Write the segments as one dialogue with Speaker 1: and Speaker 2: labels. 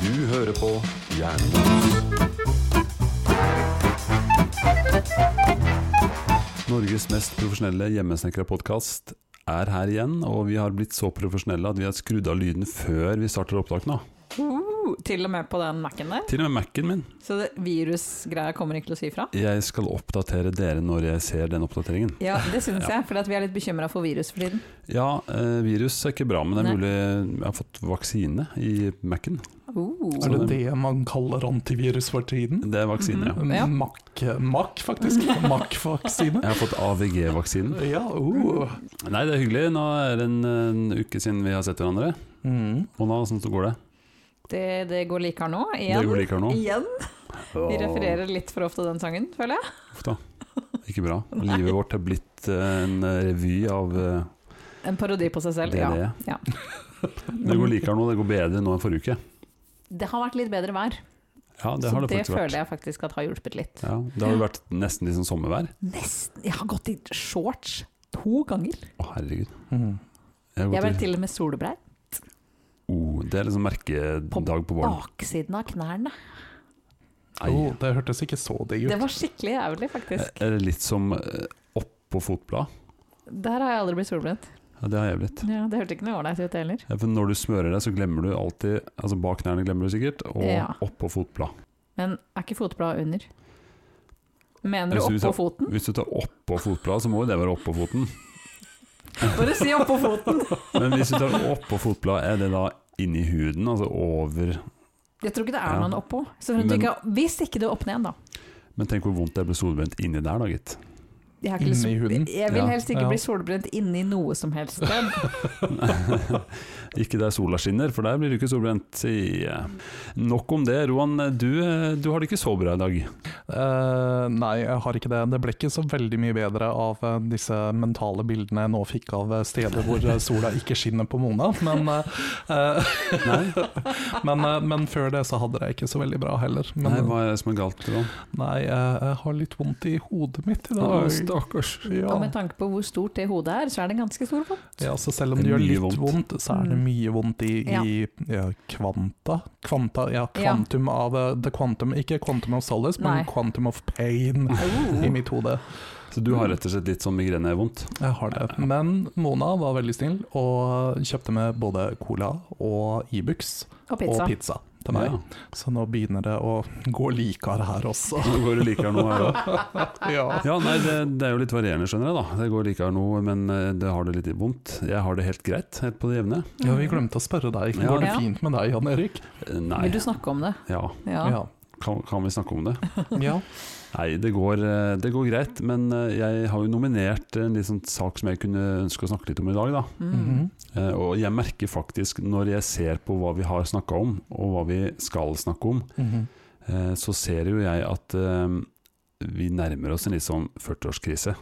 Speaker 1: Du hører på Jernbanen. Norges mest profesjonelle hjemmesnekra-podkast er her igjen, og vi har blitt så profesjonelle at vi har skrudd av lyden før vi starter opptak nå.
Speaker 2: Uh, til og med på den Mac-en der.
Speaker 1: Til og med Mac-en min.
Speaker 2: Så det- virusgreia kommer ikke til å si fra.
Speaker 1: Jeg skal oppdatere dere når jeg ser den oppdateringen.
Speaker 2: Ja, det syns jeg, for at vi er litt bekymra for virus for tiden.
Speaker 1: Ja, eh, virus er ikke bra, men det er
Speaker 2: Nei.
Speaker 1: mulig jeg har fått vaksine i Mac-en.
Speaker 2: Uh.
Speaker 1: Så
Speaker 3: Er det
Speaker 1: det-
Speaker 3: det man kaller antivirus for tiden?
Speaker 1: Det er vaksine,
Speaker 3: Mhm.
Speaker 1: ja.
Speaker 2: Ja.
Speaker 3: Mac, Mac faktisk. Mac-vaksine.
Speaker 1: Jeg har fått AVG-vaksinen.
Speaker 3: Ja, oh.
Speaker 1: Nei, det er hyggelig. Nå er det en, en uke siden vi har sett hverandre.
Speaker 3: Mm.
Speaker 1: Og nå, hvordan går det?
Speaker 2: Det, det går like her nå, igjen.
Speaker 1: Det går like her nå.
Speaker 2: Igjen. Vi refererer litt for ofte den sangen, føler jeg.
Speaker 1: Uff da. Ikke bra. Livet vårt er blitt eh, en revy av eh,
Speaker 2: En parodi på seg selv.
Speaker 1: det
Speaker 2: Ja.
Speaker 1: det er.
Speaker 2: Ja.
Speaker 1: Det går likere nå, det går bedre nå enn forrige uke.
Speaker 2: Det har vært litt bedre vær,
Speaker 1: Ja, det
Speaker 2: så
Speaker 1: har det
Speaker 2: det
Speaker 1: faktisk
Speaker 2: føler
Speaker 1: vært.
Speaker 2: jeg faktisk at har hjulpet litt.
Speaker 1: Ja, det har jo vært nesten litt sånn sommervær.
Speaker 2: Nesten. Jeg har gått i shorts to ganger.
Speaker 1: Å, herregud.
Speaker 3: Mm.
Speaker 1: Jeg har
Speaker 2: Jeg ble
Speaker 1: gått i,
Speaker 2: til og med solbrei.
Speaker 1: oh, det er liksom merkedag på våren.
Speaker 2: Baksiden av knærne.
Speaker 1: Ei.
Speaker 3: Oh, det hørtes ikke så digg
Speaker 2: Det
Speaker 3: ut.
Speaker 2: var skikkelig jævlig, faktisk.
Speaker 1: Er det litt som eh, oppå fotblad?
Speaker 2: Der har jeg aldri blitt solbrent.
Speaker 1: Ja, det har jeg blitt.
Speaker 2: Ja, det hørtes ikke noe ålreit ut heller.
Speaker 1: Ja, For når du smører deg, så glemmer du alltid Altså bak knærne glemmer du sikkert, og
Speaker 2: Ja.
Speaker 1: oppå fotblad.
Speaker 2: Men er ikke fotbladet under?
Speaker 1: Jeg
Speaker 2: Mener du
Speaker 1: synes
Speaker 2: oppå foten?
Speaker 1: Hvis du tar oppå fotbladet, så må jo det være oppå foten.
Speaker 2: Bare si oppå foten!
Speaker 1: Men hvis du tar oppå fotbladet, er det da inni huden, altså over
Speaker 2: Jeg tror ikke det er
Speaker 1: Ja.
Speaker 2: noen oppå. Så for at du
Speaker 1: Men-
Speaker 2: ikke, har- hvis ikke du er opp ned, da.
Speaker 1: Men tenk hvor vondt det ble solbrent inni der, da, gitt.
Speaker 2: Jeg, har ikke lyst-
Speaker 3: Inni huden?
Speaker 2: jeg vil
Speaker 1: Ja.
Speaker 2: helst ikke
Speaker 3: Ja.
Speaker 2: bli solbrent inni noe som helst sted.
Speaker 1: Ikke der sola skinner, for der blir du ikke solbrent. sier jeg. Nok om det. Roan, du, eh, du har det ikke så bra i dag.
Speaker 3: Eh, nei, jeg har ikke det. Det ble ikke så veldig mye bedre av eh, disse mentale bildene jeg nå fikk av eh, steder hvor eh, sola ikke skinner på Mona. Men, eh, eh,
Speaker 1: Nei,
Speaker 3: men, eh, men før det så hadde jeg ikke så veldig bra heller. Men
Speaker 1: Nei
Speaker 3: nei,
Speaker 1: hva er det som er galt, Roan?
Speaker 3: eh, jeg har litt vondt i hodet mitt i
Speaker 1: Å,
Speaker 3: dag.
Speaker 1: Stakkars.
Speaker 3: Ja.
Speaker 2: Og med tanke på hvor stort det hodet er, så er det ganske stor fot.
Speaker 3: Ja, så selv om
Speaker 1: Det
Speaker 3: det,
Speaker 1: er
Speaker 3: gjør
Speaker 1: mye
Speaker 3: litt vondt.
Speaker 1: vondt.
Speaker 3: så er det
Speaker 2: Mm.
Speaker 3: mye vondt i,
Speaker 2: Ja.
Speaker 3: i ja, kvanta. kvanta Ja,
Speaker 2: Ja.
Speaker 3: kvantum av eh, the quantum. Ikke quantum of solace,
Speaker 2: Nei. Oh.
Speaker 3: men quantum of pain i mitt hode.
Speaker 1: Så du har rett og slett litt sånn migrenevondt?
Speaker 3: Jeg har det. Men Mona var veldig snill og kjøpte med både cola og Ibux
Speaker 2: Og
Speaker 3: og
Speaker 2: pizza.
Speaker 3: pizza til meg.
Speaker 1: Ja.
Speaker 3: Så nå begynner det å gå likere her også.
Speaker 1: Nå går det likere nå her òg.
Speaker 3: Ja.
Speaker 1: Ja, nei, det, det er jo litt varierende, skjønner jeg, da. Det går likere nå, men eh, det har det litt vondt. Jeg har det helt greit, helt på det jevne.
Speaker 3: ja,
Speaker 2: Mm.
Speaker 3: vi glemte å spørre deg.
Speaker 1: Ja.
Speaker 3: Går det
Speaker 2: Ja.
Speaker 3: fint med deg, Jan Erik?
Speaker 1: Eh, Nei.
Speaker 2: Vil du snakke om det?
Speaker 1: Ja,
Speaker 2: Ja.
Speaker 3: Ja.
Speaker 1: kan, kan vi snakke om det?
Speaker 3: ja.
Speaker 1: Nei, det går, eh, det går greit, men eh, jeg har jo nominert en litt sånn sak som jeg kunne ønske å snakke litt om i dag. Da.
Speaker 2: Mm.
Speaker 3: Mhm.
Speaker 1: Eh, Og jeg merker faktisk, når jeg ser på hva vi har snakka om, og hva vi skal snakke om,
Speaker 3: Mhm.
Speaker 1: eh, så ser jo jeg at eh, vi nærmer oss en litt sånn 40-årskrise.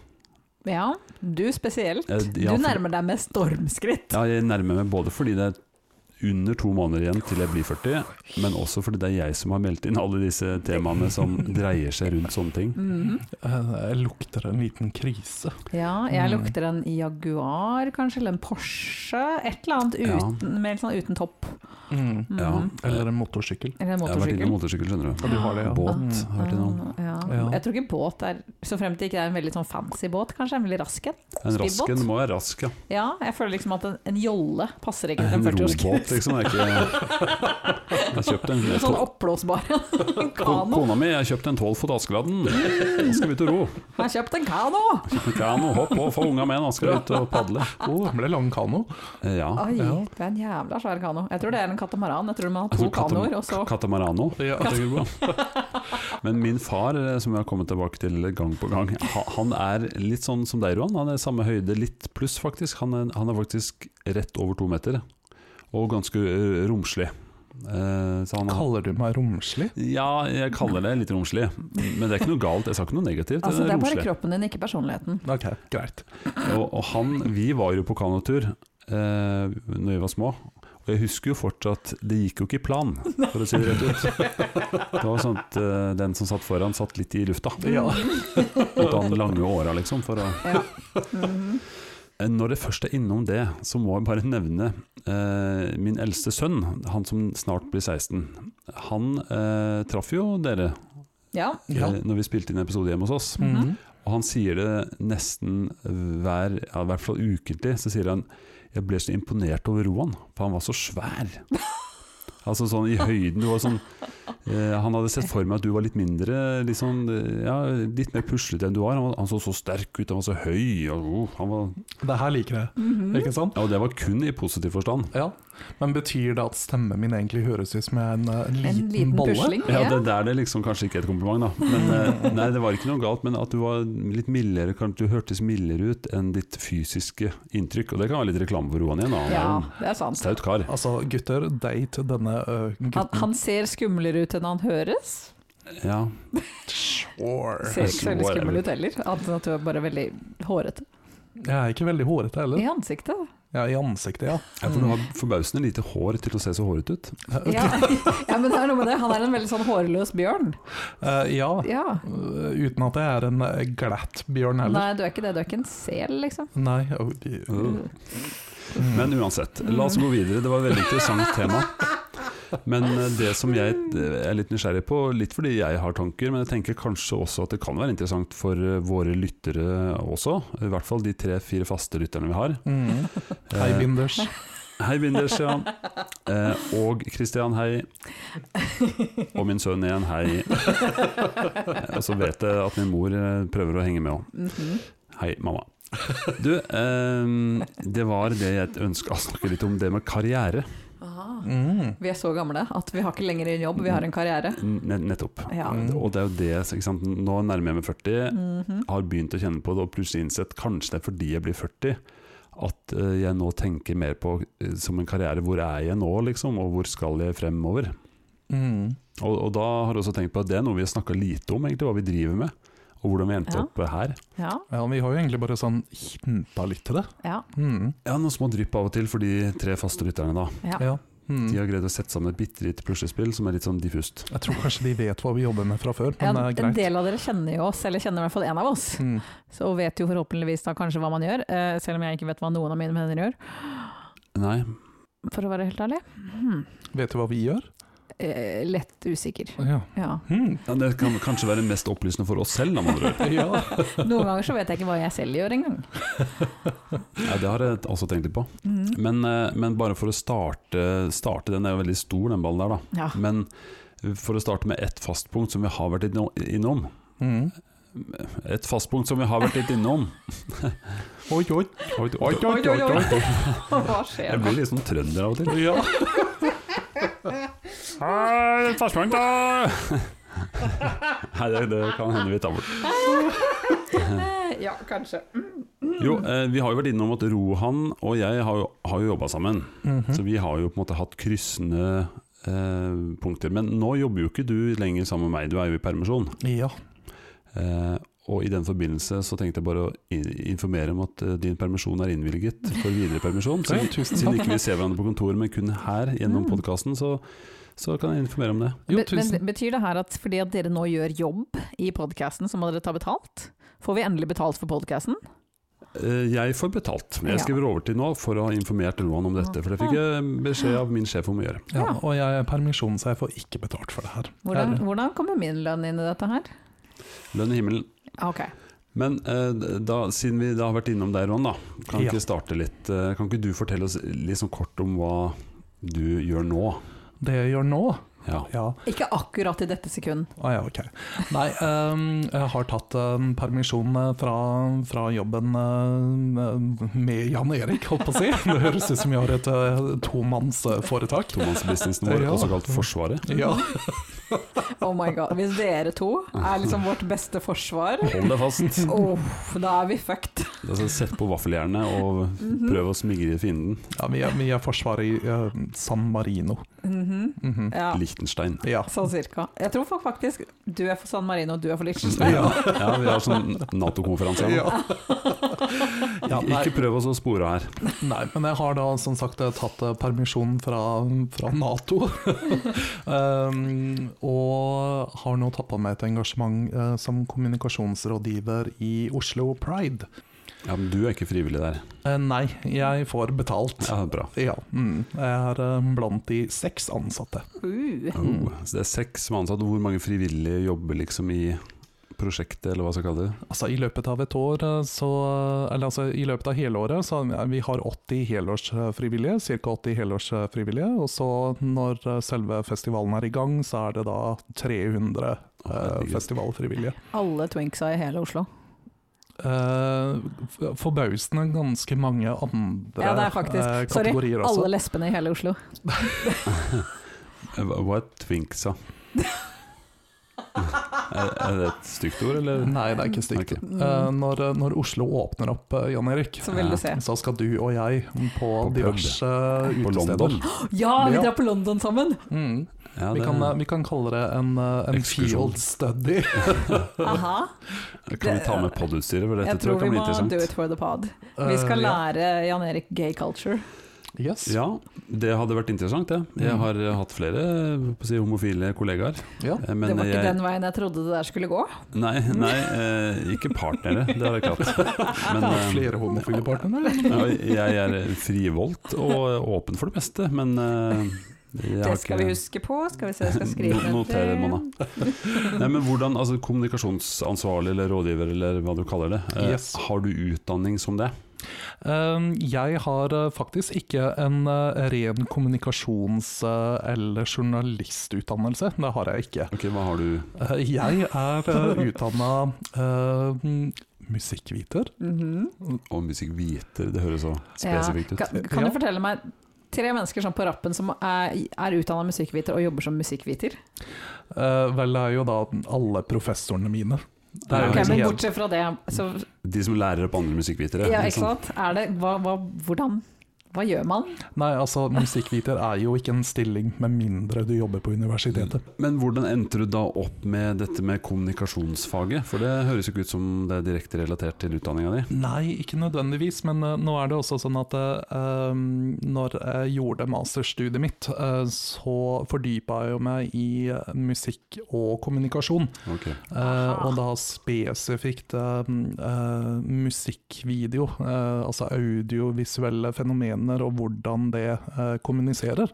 Speaker 2: ja. Du spesielt.
Speaker 1: Eh, ja,
Speaker 2: Du
Speaker 1: for-
Speaker 2: nærmer deg med stormskritt.
Speaker 1: Ja, jeg nærmer meg både fordi det er under to måneder igjen til jeg blir 40, men også fordi det er jeg som har meldt inn alle disse temaene som dreier seg rundt sånne ting.
Speaker 2: Mhm.
Speaker 3: Eh, Jeg lukter en liten krise.
Speaker 2: Ja, jeg
Speaker 3: Mm.
Speaker 2: lukter en Jaguar kanskje, eller en Porsche. Et eller annet
Speaker 1: Ja.
Speaker 2: uten, med litt sånn uten topp.
Speaker 3: Mm.
Speaker 1: Ja.
Speaker 2: Mhm.
Speaker 3: Eller en motorsykkel.
Speaker 2: Eller en
Speaker 1: Jeg har vært inne i
Speaker 2: motorsykkel.
Speaker 1: motorsykkel, skjønner du.
Speaker 3: Ja, du har det, ja.
Speaker 1: Båt.
Speaker 3: Mm.
Speaker 1: har jeg vært innom.
Speaker 2: Ah, ja.
Speaker 3: Ja.
Speaker 2: Jeg tror ikke båt er Så frem til ikke det er en veldig sånn fancy båt, kanskje. En veldig rask en.
Speaker 1: En
Speaker 2: Speedbåt?
Speaker 1: rask en må være rask, ja.
Speaker 2: Ja, jeg føler liksom at en, en jolle passer ikke til
Speaker 1: En
Speaker 2: en
Speaker 1: robåt,
Speaker 2: 40-årskrise.
Speaker 1: liksom. er ikke, jeg har kjøpt en
Speaker 2: En sånn oppblåsbar en
Speaker 1: Ko-
Speaker 2: kano.
Speaker 1: Kona mi jeg har kjøpt en 12 fot Askeladden. Nå skal vi ut og ro.
Speaker 2: Jeg har kjøpt en kano!
Speaker 1: Kano, hopp og få unga med, nå skal vi ut og padle.
Speaker 3: Oh, det ble lang kano.
Speaker 1: Eh, Ja.
Speaker 2: Oi,
Speaker 3: Ja.
Speaker 2: det er en jævla svær kano. Jeg tror det er en katamaran. Jeg tror man har to
Speaker 1: Altså, katam-
Speaker 2: kanoer, og så
Speaker 1: Katamarano.
Speaker 3: Ja.
Speaker 1: Men min far, eh, som jeg har kommet tilbake til gang på gang, ha- han er litt sånn som deg, Roan. Han er samme høyde, litt pluss faktisk. Han er, han er faktisk rett over to meter, og ganske eh, romslig. Eh, Så han
Speaker 3: Kaller du meg romslig?
Speaker 1: ja, jeg kaller det litt romslig, men det er ikke noe galt. Jeg sa ikke noe negativt.
Speaker 2: Altså, det er bare
Speaker 1: romslig.
Speaker 2: kroppen din, ikke personligheten.
Speaker 3: Ok, greit.
Speaker 1: Og, og han, vi var jo på kanotur, eh, eh, når vi var små. Og jeg husker jo fortsatt Det gikk jo ikke i plan, for å si det rett ut. Det var sånn at eh, den som satt foran, satt litt i lufta.
Speaker 3: Ja.
Speaker 1: Måtte ha den lange åra, liksom. For å
Speaker 2: Ja. Mhm.
Speaker 1: Eh, Når det først er innom det, så må jeg bare nevne eh, min eldste sønn, han som snart blir 16. Han eh, traff jo dere
Speaker 2: ja. Mm.
Speaker 3: Ja.
Speaker 1: eh, når vi spilte inn episode hjemme hos oss.
Speaker 3: Mhm.
Speaker 1: Og han sier det nesten hver, ja, i hvert fall ukentlig, så sier han Jeg ble så imponert over Roan, for han var så svær. Altså sånn i høyden, du var sånn eh, Han hadde sett for meg at du var litt mindre, litt sånn, eh, ja, litt mer puslete enn du var. Han, var, han så så sterk ut, han var så høy, og oh, han var
Speaker 3: Det her liker jeg,
Speaker 2: Mhm.
Speaker 3: ikke sant?
Speaker 1: Ja, og det var kun i positiv forstand.
Speaker 3: Ja. Men betyr det at stemmen min egentlig høres ut som jeg er en, eh, liten,
Speaker 2: En liten
Speaker 3: bolle?
Speaker 2: pusling.
Speaker 1: Ja, det er der det liksom kanskje ikke er et kompliment, da. Men, eh, nei, det var ikke noe galt, men at du var litt mildere, kan- du hørtes mildere ut enn ditt fysiske inntrykk. Og det kan være litt reklame for Roan igjen, da. Han er
Speaker 2: ja,
Speaker 1: en
Speaker 2: det er sant.
Speaker 1: staut kar.
Speaker 3: Altså, gutter, date denne eh,
Speaker 2: Han,
Speaker 3: gutten.
Speaker 2: han ser skumlere ut enn han høres.
Speaker 1: Ja.
Speaker 3: Sure.
Speaker 2: Ser ikke så veldig skummel ut heller, annet enn at du er bare veldig hårete
Speaker 3: Jeg er ikke veldig hårete heller.
Speaker 2: i ansiktet.
Speaker 3: Ja, I ansiktet, ja.
Speaker 1: Ja, for du har forbausende lite hår til å se så håret ut.
Speaker 2: Ja. ja, men det er noe med det. Han er en veldig sånn hårløs bjørn.
Speaker 3: Eh, ja.
Speaker 2: Ja.
Speaker 3: Eh, uten at jeg er en eh, glatt bjørn heller.
Speaker 2: Nei, du er ikke det. Du er ikke en sel, liksom.
Speaker 3: Nei. oh, de-
Speaker 1: Mm. Men uansett, la oss gå videre. Det var et veldig interessant tema. Men eh, det som jeg eh, er litt nysgjerrig på, litt fordi jeg har tanker, men jeg tenker kanskje også at det kan være interessant for eh, våre lyttere også. I hvert fall de tre-fire faste lytterne vi har.
Speaker 3: Mm. Hei,
Speaker 1: Eh,
Speaker 3: binders.
Speaker 1: Hei, Binders, ja. Eh, og Kristian, hei. Og min sønn igjen, hei. Eh, Og så vet jeg at min mor eh, prøver å henge med òg.
Speaker 2: Mhm.
Speaker 1: Hei, mamma. Du, ehm, det var det jeg ønska å snakke litt om, det med karriere.
Speaker 2: Aha.
Speaker 3: Mm.
Speaker 2: Vi er så gamle at vi har ikke lenger en jobb, vi har en karriere.
Speaker 1: N nettopp.
Speaker 2: Ja.
Speaker 1: Og det er jo det, ikke sant. Nå nærmer jeg meg
Speaker 3: Mm.
Speaker 1: 40,
Speaker 2: Mhm.
Speaker 1: har begynt å kjenne på det og plutselig innsett, kanskje det er fordi jeg blir 40, at eh, jeg nå tenker mer på eh, som en karriere, hvor er jeg nå, liksom, og hvor skal jeg fremover?
Speaker 3: Mm.
Speaker 1: Og, og da har jeg også tenkt på at det er noe vi har snakka lite om, egentlig, hva vi driver med, og hvordan vi endte
Speaker 2: Ja.
Speaker 1: opp her.
Speaker 2: Ja.
Speaker 3: Ja, vi har jo egentlig bare sånn hinta litt til det.
Speaker 2: Ja.
Speaker 3: Mm.
Speaker 1: Ja, noen små drypp av og til for de tre faste lytterne, da.
Speaker 2: Ja.
Speaker 3: Ja. Mm.
Speaker 1: De har greid å sette sammen et bitte lite puslespill som er litt sånn diffust.
Speaker 3: Jeg tror kanskje de vet hva vi jobber med fra før, men
Speaker 2: En,
Speaker 3: eh,
Speaker 2: en
Speaker 3: greit.
Speaker 2: del av dere kjenner jo oss, eller kjenner i hvert fall en av oss.
Speaker 3: Mm.
Speaker 2: Så og vet jo forhåpentligvis da kanskje hva man gjør, eh, selv om jeg ikke vet hva noen av mine venner gjør,
Speaker 1: Nei,
Speaker 2: for å være helt ærlig. Hmm.
Speaker 3: Vet du hva vi gjør?
Speaker 2: Eh, lett usikker.
Speaker 3: Ja.
Speaker 2: Ja.
Speaker 3: Mm.
Speaker 1: ja, det kan kanskje være mest opplysende for oss selv, da, med andre ord.
Speaker 3: ja.
Speaker 2: Noen ganger så vet jeg ikke hva jeg selv gjør engang.
Speaker 1: Ja, det har jeg også tenkt litt på.
Speaker 2: Mhm.
Speaker 1: Men, eh, men bare for å starte, starte Den er jo veldig stor, den ballen der, da.
Speaker 2: Ja.
Speaker 1: Men for å starte med ett fast punkt som vi har vært innom- innom.
Speaker 3: Mm.
Speaker 1: Et fast punkt som vi har vært litt innom.
Speaker 3: Oi, oi.
Speaker 1: Oi,
Speaker 3: Oi, oi, oi, oi.
Speaker 2: Hva skjer
Speaker 1: Jeg
Speaker 2: nå?
Speaker 1: blir litt sånn trønder av og til.
Speaker 3: Ja.
Speaker 1: Hei, fastpunkt, da! Nei, det, det kan hende vi tar bort.
Speaker 2: Eh, Ja, kanskje.
Speaker 1: Jo, eh, vi har jo vært innom at Rohan og jeg har jo, har jo jobba sammen.
Speaker 3: Mhm.
Speaker 1: Så vi har jo på en måte hatt kryssende eh, punkter. Men nå jobber jo ikke du lenger sammen med meg, du er jo i permisjon.
Speaker 3: ja.
Speaker 1: Eh, og i den forbindelse så tenkte jeg bare å i- informere om at eh, din permisjon er innvilget for videre permisjon. Så
Speaker 3: Ja,
Speaker 1: vi,
Speaker 3: tusen
Speaker 1: siden
Speaker 3: takk.
Speaker 1: ikke vi ser hverandre på kontoret, men kun her gjennom
Speaker 2: Mm.
Speaker 1: podkasten, så, så kan jeg informere om det.
Speaker 3: Jo,
Speaker 2: Be-
Speaker 3: tusen.
Speaker 2: Men betyr det her at fordi at dere nå gjør jobb i podkasten, så må dere ta betalt? Får vi endelig betalt for podkasten?
Speaker 1: Eh, Jeg får betalt. men
Speaker 2: Ja.
Speaker 1: Jeg skriver overtid nå for å ha informert Roan om dette, for det fikk jeg beskjed av min sjef om å gjøre.
Speaker 3: Ja,
Speaker 2: Ja.
Speaker 3: og jeg er permisjon, så jeg får ikke betalt for det her.
Speaker 2: Hvordan,
Speaker 3: Jeg-
Speaker 2: hvordan kommer min lønn inn i dette her?
Speaker 1: Lønn i himmelen.
Speaker 2: Ok.
Speaker 1: Men eh, da, siden vi da har vært innom der, Ron, da, kan
Speaker 3: Ja.
Speaker 1: ikke starte litt eh, Kan ikke du fortelle oss litt sånn kort om hva du gjør nå?
Speaker 3: Det jeg gjør nå
Speaker 1: Ja.
Speaker 3: Ja,
Speaker 2: Ikke akkurat i dette sekund.
Speaker 3: ah, ja ok. Nei, ehm, jeg har tatt ehm, permisjon eh, fra, fra jobben eh, med Jan Erik, holdt på å si. Det høres ut som jeg har et eh, tomannsforetak.
Speaker 1: Tomannsbusinessen vår,
Speaker 3: Ja.
Speaker 1: også kalt Forsvaret.
Speaker 2: Mhm.
Speaker 3: Ja.
Speaker 2: Oh my god. Hvis dere to er liksom vårt beste forsvar,
Speaker 1: Hold deg fast.
Speaker 2: oh, da er vi fucked.
Speaker 1: Altså, sett på vaffeljernet og prøv å smigre fienden.
Speaker 3: Ja, vi, er, vi er forsvaret i eh, San Marino.
Speaker 2: Mhm.
Speaker 3: Mhm.
Speaker 2: Ja,
Speaker 1: Liechtenstein.
Speaker 3: Ja.
Speaker 2: sånn cirka. Jeg tror folk faktisk du er for San Marino, og du er for Liechtenstein.
Speaker 1: Ja. ja, vi har sånn Nato-konferanse. her nå.
Speaker 3: Ja. Ja, nei.
Speaker 1: Ikke prøv oss å spore her.
Speaker 3: Nei, men jeg har da som sagt tatt eh, permisjon fra, fra Nato. um, og har nå tatt på meg et engasjement eh, som kommunikasjonsrådgiver i Oslo Pride.
Speaker 1: Ja, men du er ikke frivillig der.
Speaker 3: Eh, nei, jeg får betalt.
Speaker 1: Ja, bra.
Speaker 3: Ja. Mm. Jeg er eh, blant de seks ansatte.
Speaker 2: Uh.
Speaker 1: Oh, så det er seks som er ansatt. Hvor mange frivillige jobber liksom i prosjektet, eller hva skal jeg kalle det?
Speaker 3: Altså, I løpet av et år, eh, så, eller altså i løpet av hele året, så eh, vi har 80 helårsfrivillige, ca. 80 helårsfrivillige. Og så når eh, selve festivalen er i gang, så er det da 300
Speaker 1: Å,
Speaker 3: eh,
Speaker 1: herregud.
Speaker 3: festivalfrivillige.
Speaker 2: Alle twinksa i hele Oslo.
Speaker 3: Eh, f- forbausende ganske mange andre
Speaker 2: Ja, det er faktisk-
Speaker 3: eh,
Speaker 2: Sorry,
Speaker 3: kategorier også.
Speaker 2: alle lesbene i hele Oslo.
Speaker 1: Eh, Hva hva er twinksa? er, er det et stygt ord, eller?
Speaker 3: Nei, det er ikke stygt.
Speaker 1: Ok.
Speaker 3: Eh, når, når Oslo åpner opp, eh, Jan Erik,
Speaker 2: Mm. Så vil du se.
Speaker 3: så skal du og jeg på,
Speaker 1: pub.
Speaker 3: diverse eh,
Speaker 1: På
Speaker 3: utesteder.
Speaker 1: London?
Speaker 2: Ja, vi
Speaker 3: Ja.
Speaker 2: drar på London sammen!
Speaker 3: Mm.
Speaker 1: Ja,
Speaker 3: Vi,
Speaker 1: det-
Speaker 3: kan, eh, vi kan kalle det en, eh, en
Speaker 1: Ekskursjon.
Speaker 3: field study.
Speaker 2: Aha.
Speaker 1: Kan vi ta med podutstyret, for dette
Speaker 2: Jeg tror
Speaker 1: kan
Speaker 2: vi
Speaker 1: bli
Speaker 2: må do
Speaker 1: interessant.
Speaker 2: it for the pod.
Speaker 3: Eh,
Speaker 2: Vi skal
Speaker 3: ja.
Speaker 2: lære Jan Erik gay culture.
Speaker 3: Yes.
Speaker 1: Ja, det hadde vært interessant, det. Jeg
Speaker 3: Mm.
Speaker 1: har eh, hatt flere på å si, homofile kollegaer.
Speaker 3: Ja.
Speaker 1: eh, Men
Speaker 2: det var
Speaker 1: jeg,
Speaker 2: ikke den veien jeg trodde det der skulle gå.
Speaker 1: Nei, nei eh, ikke partnere, det har jeg ikke hatt. Men,
Speaker 3: Har
Speaker 1: eh,
Speaker 3: flere homofile partnere?
Speaker 1: Ja, jeg er frivoldt og åpen for det meste, men eh, jeg
Speaker 2: Det
Speaker 1: har
Speaker 2: skal
Speaker 1: ikke-
Speaker 2: vi huske på. Skal vi se, jeg skal skrive ned
Speaker 1: Notere,
Speaker 2: det.
Speaker 1: Mona. Nei, men hvordan, altså Kommunikasjonsansvarlig eller rådgiver, eller hva du kaller det. eh,
Speaker 3: Yes.
Speaker 1: Har du utdanning som det?
Speaker 3: Um, Jeg har uh, faktisk ikke en uh, ren kommunikasjons- uh, eller journalistutdannelse. Det har jeg ikke.
Speaker 1: Ok, Hva har du?
Speaker 3: Uh, Jeg er eh, utdanna eh, musikkviter.
Speaker 2: Mhm.
Speaker 1: Og musikkviter, det høres så
Speaker 2: Ja.
Speaker 1: spesifikt ut.
Speaker 2: Kan, kan
Speaker 3: Ja.
Speaker 2: du fortelle meg tre mennesker sånn på rappen som er, er utdanna musikkviter og jobber som musikkviter?
Speaker 3: Uh, Vel, det er jo da alle professorene mine. Det er jo
Speaker 1: Ja,
Speaker 2: Ok,
Speaker 1: ikke
Speaker 3: liksom
Speaker 2: men
Speaker 3: helt-
Speaker 2: bortsett fra det, så
Speaker 1: De som lærer opp andre musikkvitere.
Speaker 2: ja,
Speaker 1: ikke
Speaker 2: ikke
Speaker 1: sant?
Speaker 2: sant? Er det, hva, hva, hvordan hva gjør man?
Speaker 3: Nei, altså, musikkviter er jo ikke en stilling med mindre du jobber på universitetet.
Speaker 1: Men hvordan endte du da opp med dette med kommunikasjonsfaget? For det høres jo ikke ut som det er direkte relatert til utdanninga di.
Speaker 3: Nei, ikke nødvendigvis, men eh, nå er det også sånn at eh, um, når jeg gjorde masterstudiet mitt, eh, så fordypa jeg jo meg i eh, musikk og kommunikasjon.
Speaker 1: Ok.
Speaker 3: Eh, og da spesifikt eh, eh, musikkvideo, eh, altså audiovisuelle fenomener og hvordan det eh, kommuniserer.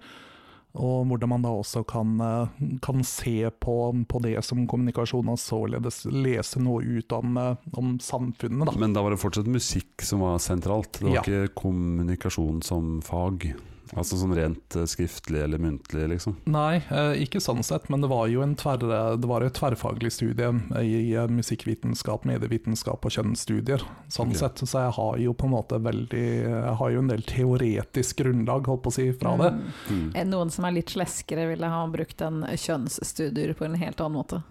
Speaker 3: Og hvordan man da også kan, eh, kan se på, på det som kommunikasjon, og således lese noe ut om, eh, om samfunnet. Da.
Speaker 1: Men da var det fortsatt musikk som var sentralt. Det var
Speaker 3: Ja.
Speaker 1: ikke kommunikasjon som fag. Altså sånn rent eh, skriftlig eller muntlig, liksom.
Speaker 3: Nei, eh, ikke sånn sett, men det var jo en tverr, eh, det var jo et tverrfaglig studie i eh, musikkvitenskap, medievitenskap og kjønnsstudier. Sånn
Speaker 1: Ok.
Speaker 3: sett, så jeg har jo på en måte veldig Jeg har jo en del teoretisk grunnlag, holdt på å si, fra det.
Speaker 2: Mm. Eh, Noen som er litt sleskere, ville ha brukt en kjønnsstudier på en helt annen måte.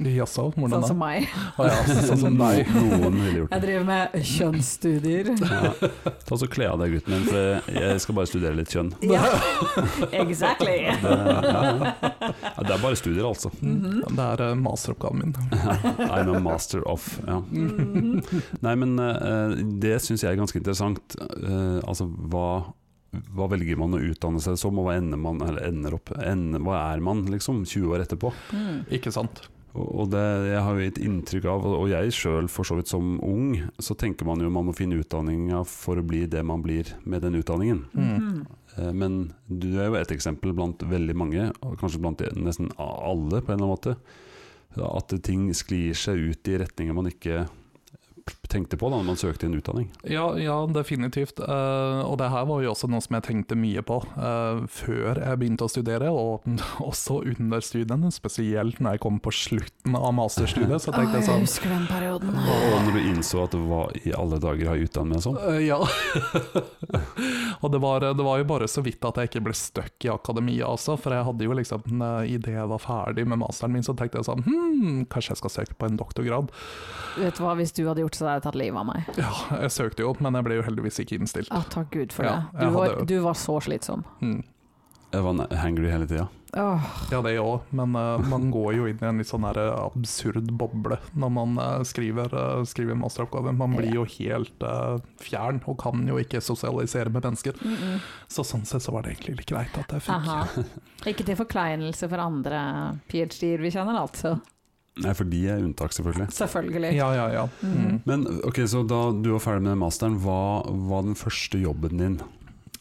Speaker 3: Jaså,
Speaker 2: Sånn
Speaker 3: hvordan da?
Speaker 2: som meg.
Speaker 3: Å ja, sånn som deg.
Speaker 1: Noen ville gjort
Speaker 2: Jeg
Speaker 1: det.
Speaker 2: driver med kjønnsstudier.
Speaker 1: Ja. Ta så Kle av deg, gutten min, for jeg skal bare studere litt kjønn.
Speaker 2: Ja, exactly!
Speaker 1: Det, ja, ja. Ja, det er bare studier, altså.
Speaker 2: Mhm.
Speaker 3: Det er eh, masteroppgaven min.
Speaker 1: I'm a master of. Ja.
Speaker 2: Mhm.
Speaker 1: Nei, men eh, det syns jeg er ganske interessant. Eh, altså hva hva velger man å utdanne seg som, og hva ender man eller ender opp ender, Hva er man, liksom, 20 år etterpå?
Speaker 2: Mm.
Speaker 3: Ikke sant?
Speaker 1: Og og det, jeg har jo et inntrykk av, og jeg sjøl for så vidt som ung, så tenker man jo man må finne utdanninga for å bli det man blir med den utdanningen.
Speaker 3: Mm.
Speaker 2: Mhm.
Speaker 1: Eh, Men du er jo et eksempel blant veldig mange, og kanskje blant de- nesten alle på en eller annen måte, at ting sklir seg ut i retninger man ikke tenkte på da når man søkte en utdanning.
Speaker 3: Ja, ja, definitivt. Eh, og det her var jo også noe som jeg tenkte mye på eh, før jeg begynte å studere, og også under studiene, spesielt når jeg kom på slutten av masterstudiet. Så
Speaker 2: Å,
Speaker 3: tenkte jeg sånn
Speaker 2: husker den perioden.
Speaker 1: Og når du innså at hva i alle dager har jeg utdannet meg som?
Speaker 3: eh, ja. og det var, det var jo bare så vidt at jeg ikke ble stuck i akademia også, for jeg hadde jo liksom eh, Idet jeg var ferdig med masteren min, så tenkte jeg sånn Hm, kanskje jeg skal søke på en doktorgrad?
Speaker 2: Vet du hva, hvis du hadde gjort så, hadde jeg tatt livet av meg.
Speaker 3: Ja, jeg søkte jo, men jeg ble jo heldigvis ikke innstilt.
Speaker 2: Å, takk Gud for
Speaker 3: Ja,
Speaker 2: det.
Speaker 3: jeg
Speaker 2: Du var,
Speaker 3: hadde-
Speaker 2: du var så slitsom.
Speaker 3: Mm.
Speaker 1: Jeg var na- hangry hele tida.
Speaker 2: Åh,
Speaker 3: Ja, det òg, men eh, man går jo inn i en litt sånn her, eh, absurd boble når man eh, skriver, eh, skriver masteroppgave. Man blir jo helt eh, fjern og kan jo ikke sosialisere med mennesker.
Speaker 2: mm -mm.
Speaker 3: Så sånn sett så var det egentlig litt greit at jeg fikk
Speaker 2: Aha. Ikke til forkleinelse for andre ph.d.-er vi kjenner, altså.
Speaker 1: Nei, for de er unntak, selvfølgelig.
Speaker 2: Selvfølgelig.
Speaker 3: Ja, ja, ja. Mm.
Speaker 2: Mhm.
Speaker 1: Men ok, så da du var ferdig med den masteren, hva var den første jobben din?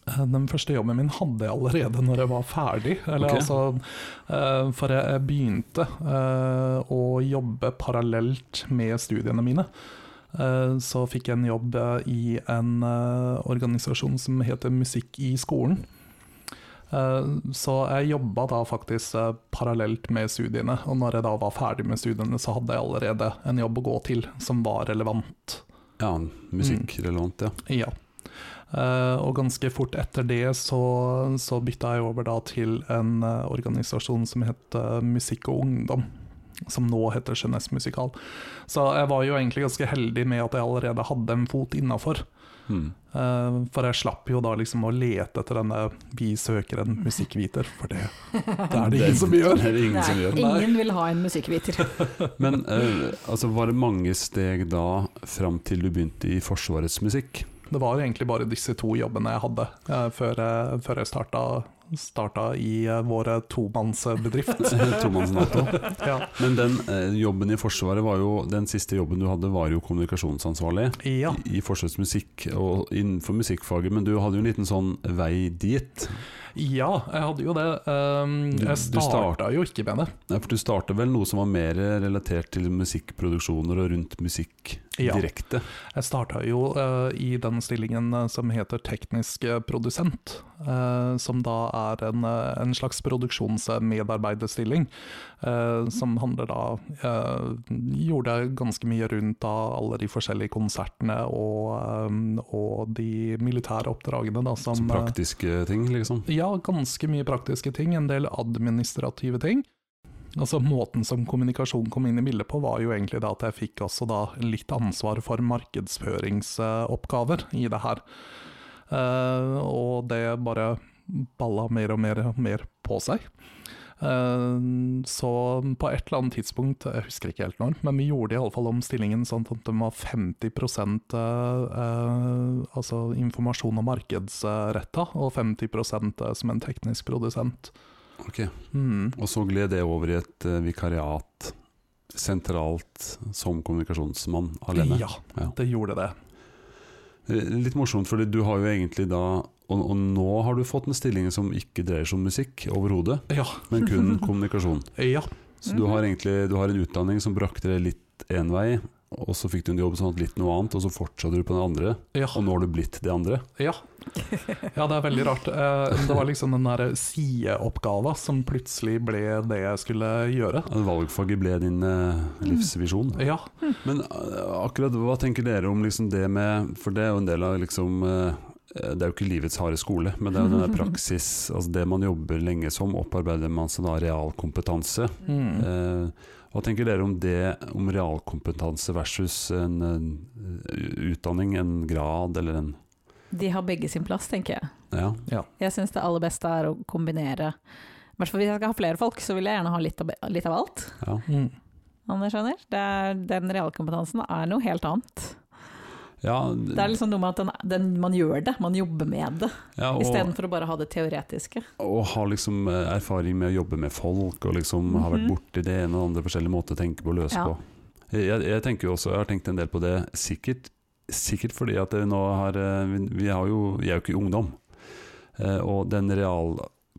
Speaker 3: Eh, Den første jobben min hadde jeg allerede når jeg var ferdig. Eller,
Speaker 1: Ok.
Speaker 3: altså, eh, for jeg jeg begynte eh, å jobbe parallelt med studiene mine. Eh, Så fikk jeg en jobb eh, i en eh, organisasjon som heter Musikk i skolen. Eh, Så jeg jobba da faktisk eh, parallelt med studiene, og når jeg da var ferdig med studiene, så hadde jeg allerede en jobb å gå til som var relevant.
Speaker 1: Ja, musikkrelevant, ja.
Speaker 3: Ja. Eh, og ganske fort etter det så, så bytta jeg over da til en eh, organisasjon som het eh, Musikk og Ungdom. Som nå heter Jeunesse Musikal. Så jeg var jo egentlig ganske heldig med at jeg allerede hadde en fot innafor. eh,
Speaker 1: Hmm.
Speaker 3: for jeg slapp jo da liksom å lete etter denne 'vi søker en musikkviter', for det, det er det ingen som gjør.
Speaker 1: Det er det ingen som
Speaker 2: Nei,
Speaker 1: gjør.
Speaker 2: ingen vil ha en musikkviter.
Speaker 1: Men eh, altså, var det mange steg da fram til du begynte i Forsvarets musikk?
Speaker 3: Det var egentlig bare disse to jobbene jeg hadde eh, før, jeg- før jeg starta, starta i eh, vår tomannsbedrift.
Speaker 1: Tomannsnato.
Speaker 3: ja.
Speaker 1: Men den eh, jobben i Forsvaret var jo Den siste jobben du hadde, var jo kommunikasjonsansvarlig.
Speaker 3: Ja,
Speaker 1: I i Forsvarets musikk og innenfor musikkfaget, men du hadde jo en liten sånn vei dit.
Speaker 3: ja jeg hadde jo det. Um,
Speaker 1: Du-
Speaker 3: jeg
Speaker 1: du starta-
Speaker 3: starta jo ikke med det.
Speaker 1: Nei, For du startet vel noe som var mer relatert til musikkproduksjoner og rundt musikk
Speaker 3: Ja.
Speaker 1: direkte.
Speaker 3: Jeg starta jo eh, i den stillingen eh, som heter teknisk eh, produsent, eh, som da er en, eh, en slags produksjonsmedarbeiderstilling, eh, som handler da eh, Gjorde ganske mye rundt da alle de forskjellige konsertene og, eh, og de militære oppdragene da, som
Speaker 1: Som altså
Speaker 3: eh,
Speaker 1: praktiske ting, liksom.
Speaker 3: Ja, ganske mye praktiske ting, en del administrative ting. Altså Måten som kommunikasjon kom inn i bildet på, var jo egentlig da at jeg fikk også da litt ansvar for markedsføringsoppgaver i det her. Eh, og det bare balla mer og mer og mer på seg. Eh, så på et eller annet tidspunkt, jeg husker ikke helt når, men vi gjorde iallfall om stillingen sånn at den var 50 eh, eh, altså informasjon og markedsretta, og 50 som en teknisk produsent.
Speaker 1: Ok.
Speaker 3: Mm.
Speaker 1: Og så gled det over i et eh, vikariat sentralt som kommunikasjonsmann alene.
Speaker 3: Ja,
Speaker 1: Ja.
Speaker 3: det gjorde det.
Speaker 1: Eh, Litt morsomt, fordi du har jo egentlig da og, og nå har du fått en stilling som ikke dreier seg om musikk overhodet,
Speaker 3: Ja,
Speaker 1: men kun kommunikasjon.
Speaker 3: ja,
Speaker 1: Så du har egentlig du har en utdanning som brakte deg litt én vei, og så fikk du en jobb sånn at litt noe annet, og så fortsatte du på den andre,
Speaker 3: ja.
Speaker 1: og nå har du blitt det andre.
Speaker 3: Ja. ja, det er veldig rart. Eh, Det var liksom den der sideoppgava som plutselig ble det jeg skulle gjøre.
Speaker 1: Ja, Valgfaget ble din eh,
Speaker 2: Mm.
Speaker 1: livsvisjon.
Speaker 3: Ja,
Speaker 1: Men eh, akkurat hva tenker dere om liksom det med For det er jo en del av liksom eh, Det er jo ikke livets harde skole, men det er jo den der praksis, altså det man jobber lenge som, opparbeider man seg da realkompetanse.
Speaker 3: mm.
Speaker 1: Eh, hva tenker dere om det, om realkompetanse versus en, eh, utdanning, en grad eller en
Speaker 2: De har begge sin plass, tenker jeg.
Speaker 1: Ja.
Speaker 2: Jeg syns det aller beste er å kombinere I hvert fall hvis jeg skal ha flere folk, så vil jeg gjerne ha litt av, litt av alt.
Speaker 1: ja.
Speaker 3: Mm.
Speaker 2: Om dere skjønner? Det er, den realkompetansen er noe helt annet.
Speaker 1: Ja,
Speaker 2: Det er liksom noe med at den, den, man gjør det, man jobber med det,
Speaker 1: ja, og,
Speaker 2: istedenfor å bare ha det teoretiske.
Speaker 1: og har liksom eh, erfaring med å jobbe med folk, og liksom har vært
Speaker 2: Mhm.
Speaker 1: borti det ene og det andre forskjellige måter å tenke på og løse
Speaker 2: Ja.
Speaker 1: på. Jeg, jeg tenker jo også, jeg har tenkt en del på det, sikkert, sikkert fordi at jeg nå har eh, vi, vi har jo, Jeg er jo ikke ungdom, Eh, og den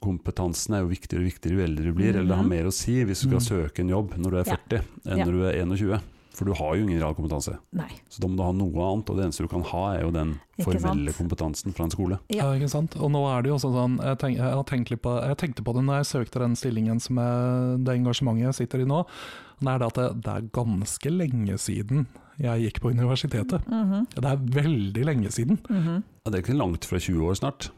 Speaker 1: realkompetansen er jo viktigere og viktigere jo eldre du blir, eller det har
Speaker 2: Mhm.
Speaker 1: mer å si hvis du skal
Speaker 3: Mm.
Speaker 1: søke en jobb når du er
Speaker 2: Ja.
Speaker 1: 40 enn
Speaker 2: Ja.
Speaker 1: når du er 21. For du har jo ingen realkompetanse,
Speaker 2: Nei.
Speaker 1: så da må du ha noe annet. Og det eneste du kan ha, er jo den
Speaker 2: Ikke sant?
Speaker 1: formelle kompetansen fra en skole.
Speaker 3: Ja.
Speaker 2: Ja.
Speaker 3: Eh, ikke sant? Og nå er det jo også sånn Jeg, tenk, jeg, har tenkt litt på, jeg tenkte på det når jeg søkte den stillingen som jeg, det engasjementet jeg sitter i nå. Det er det at det, det er ganske lenge siden jeg gikk på universitetet.
Speaker 2: Mhm,
Speaker 3: Det er veldig lenge siden.
Speaker 2: mhm.
Speaker 1: Ja, det er ikke langt fra 20 år snart.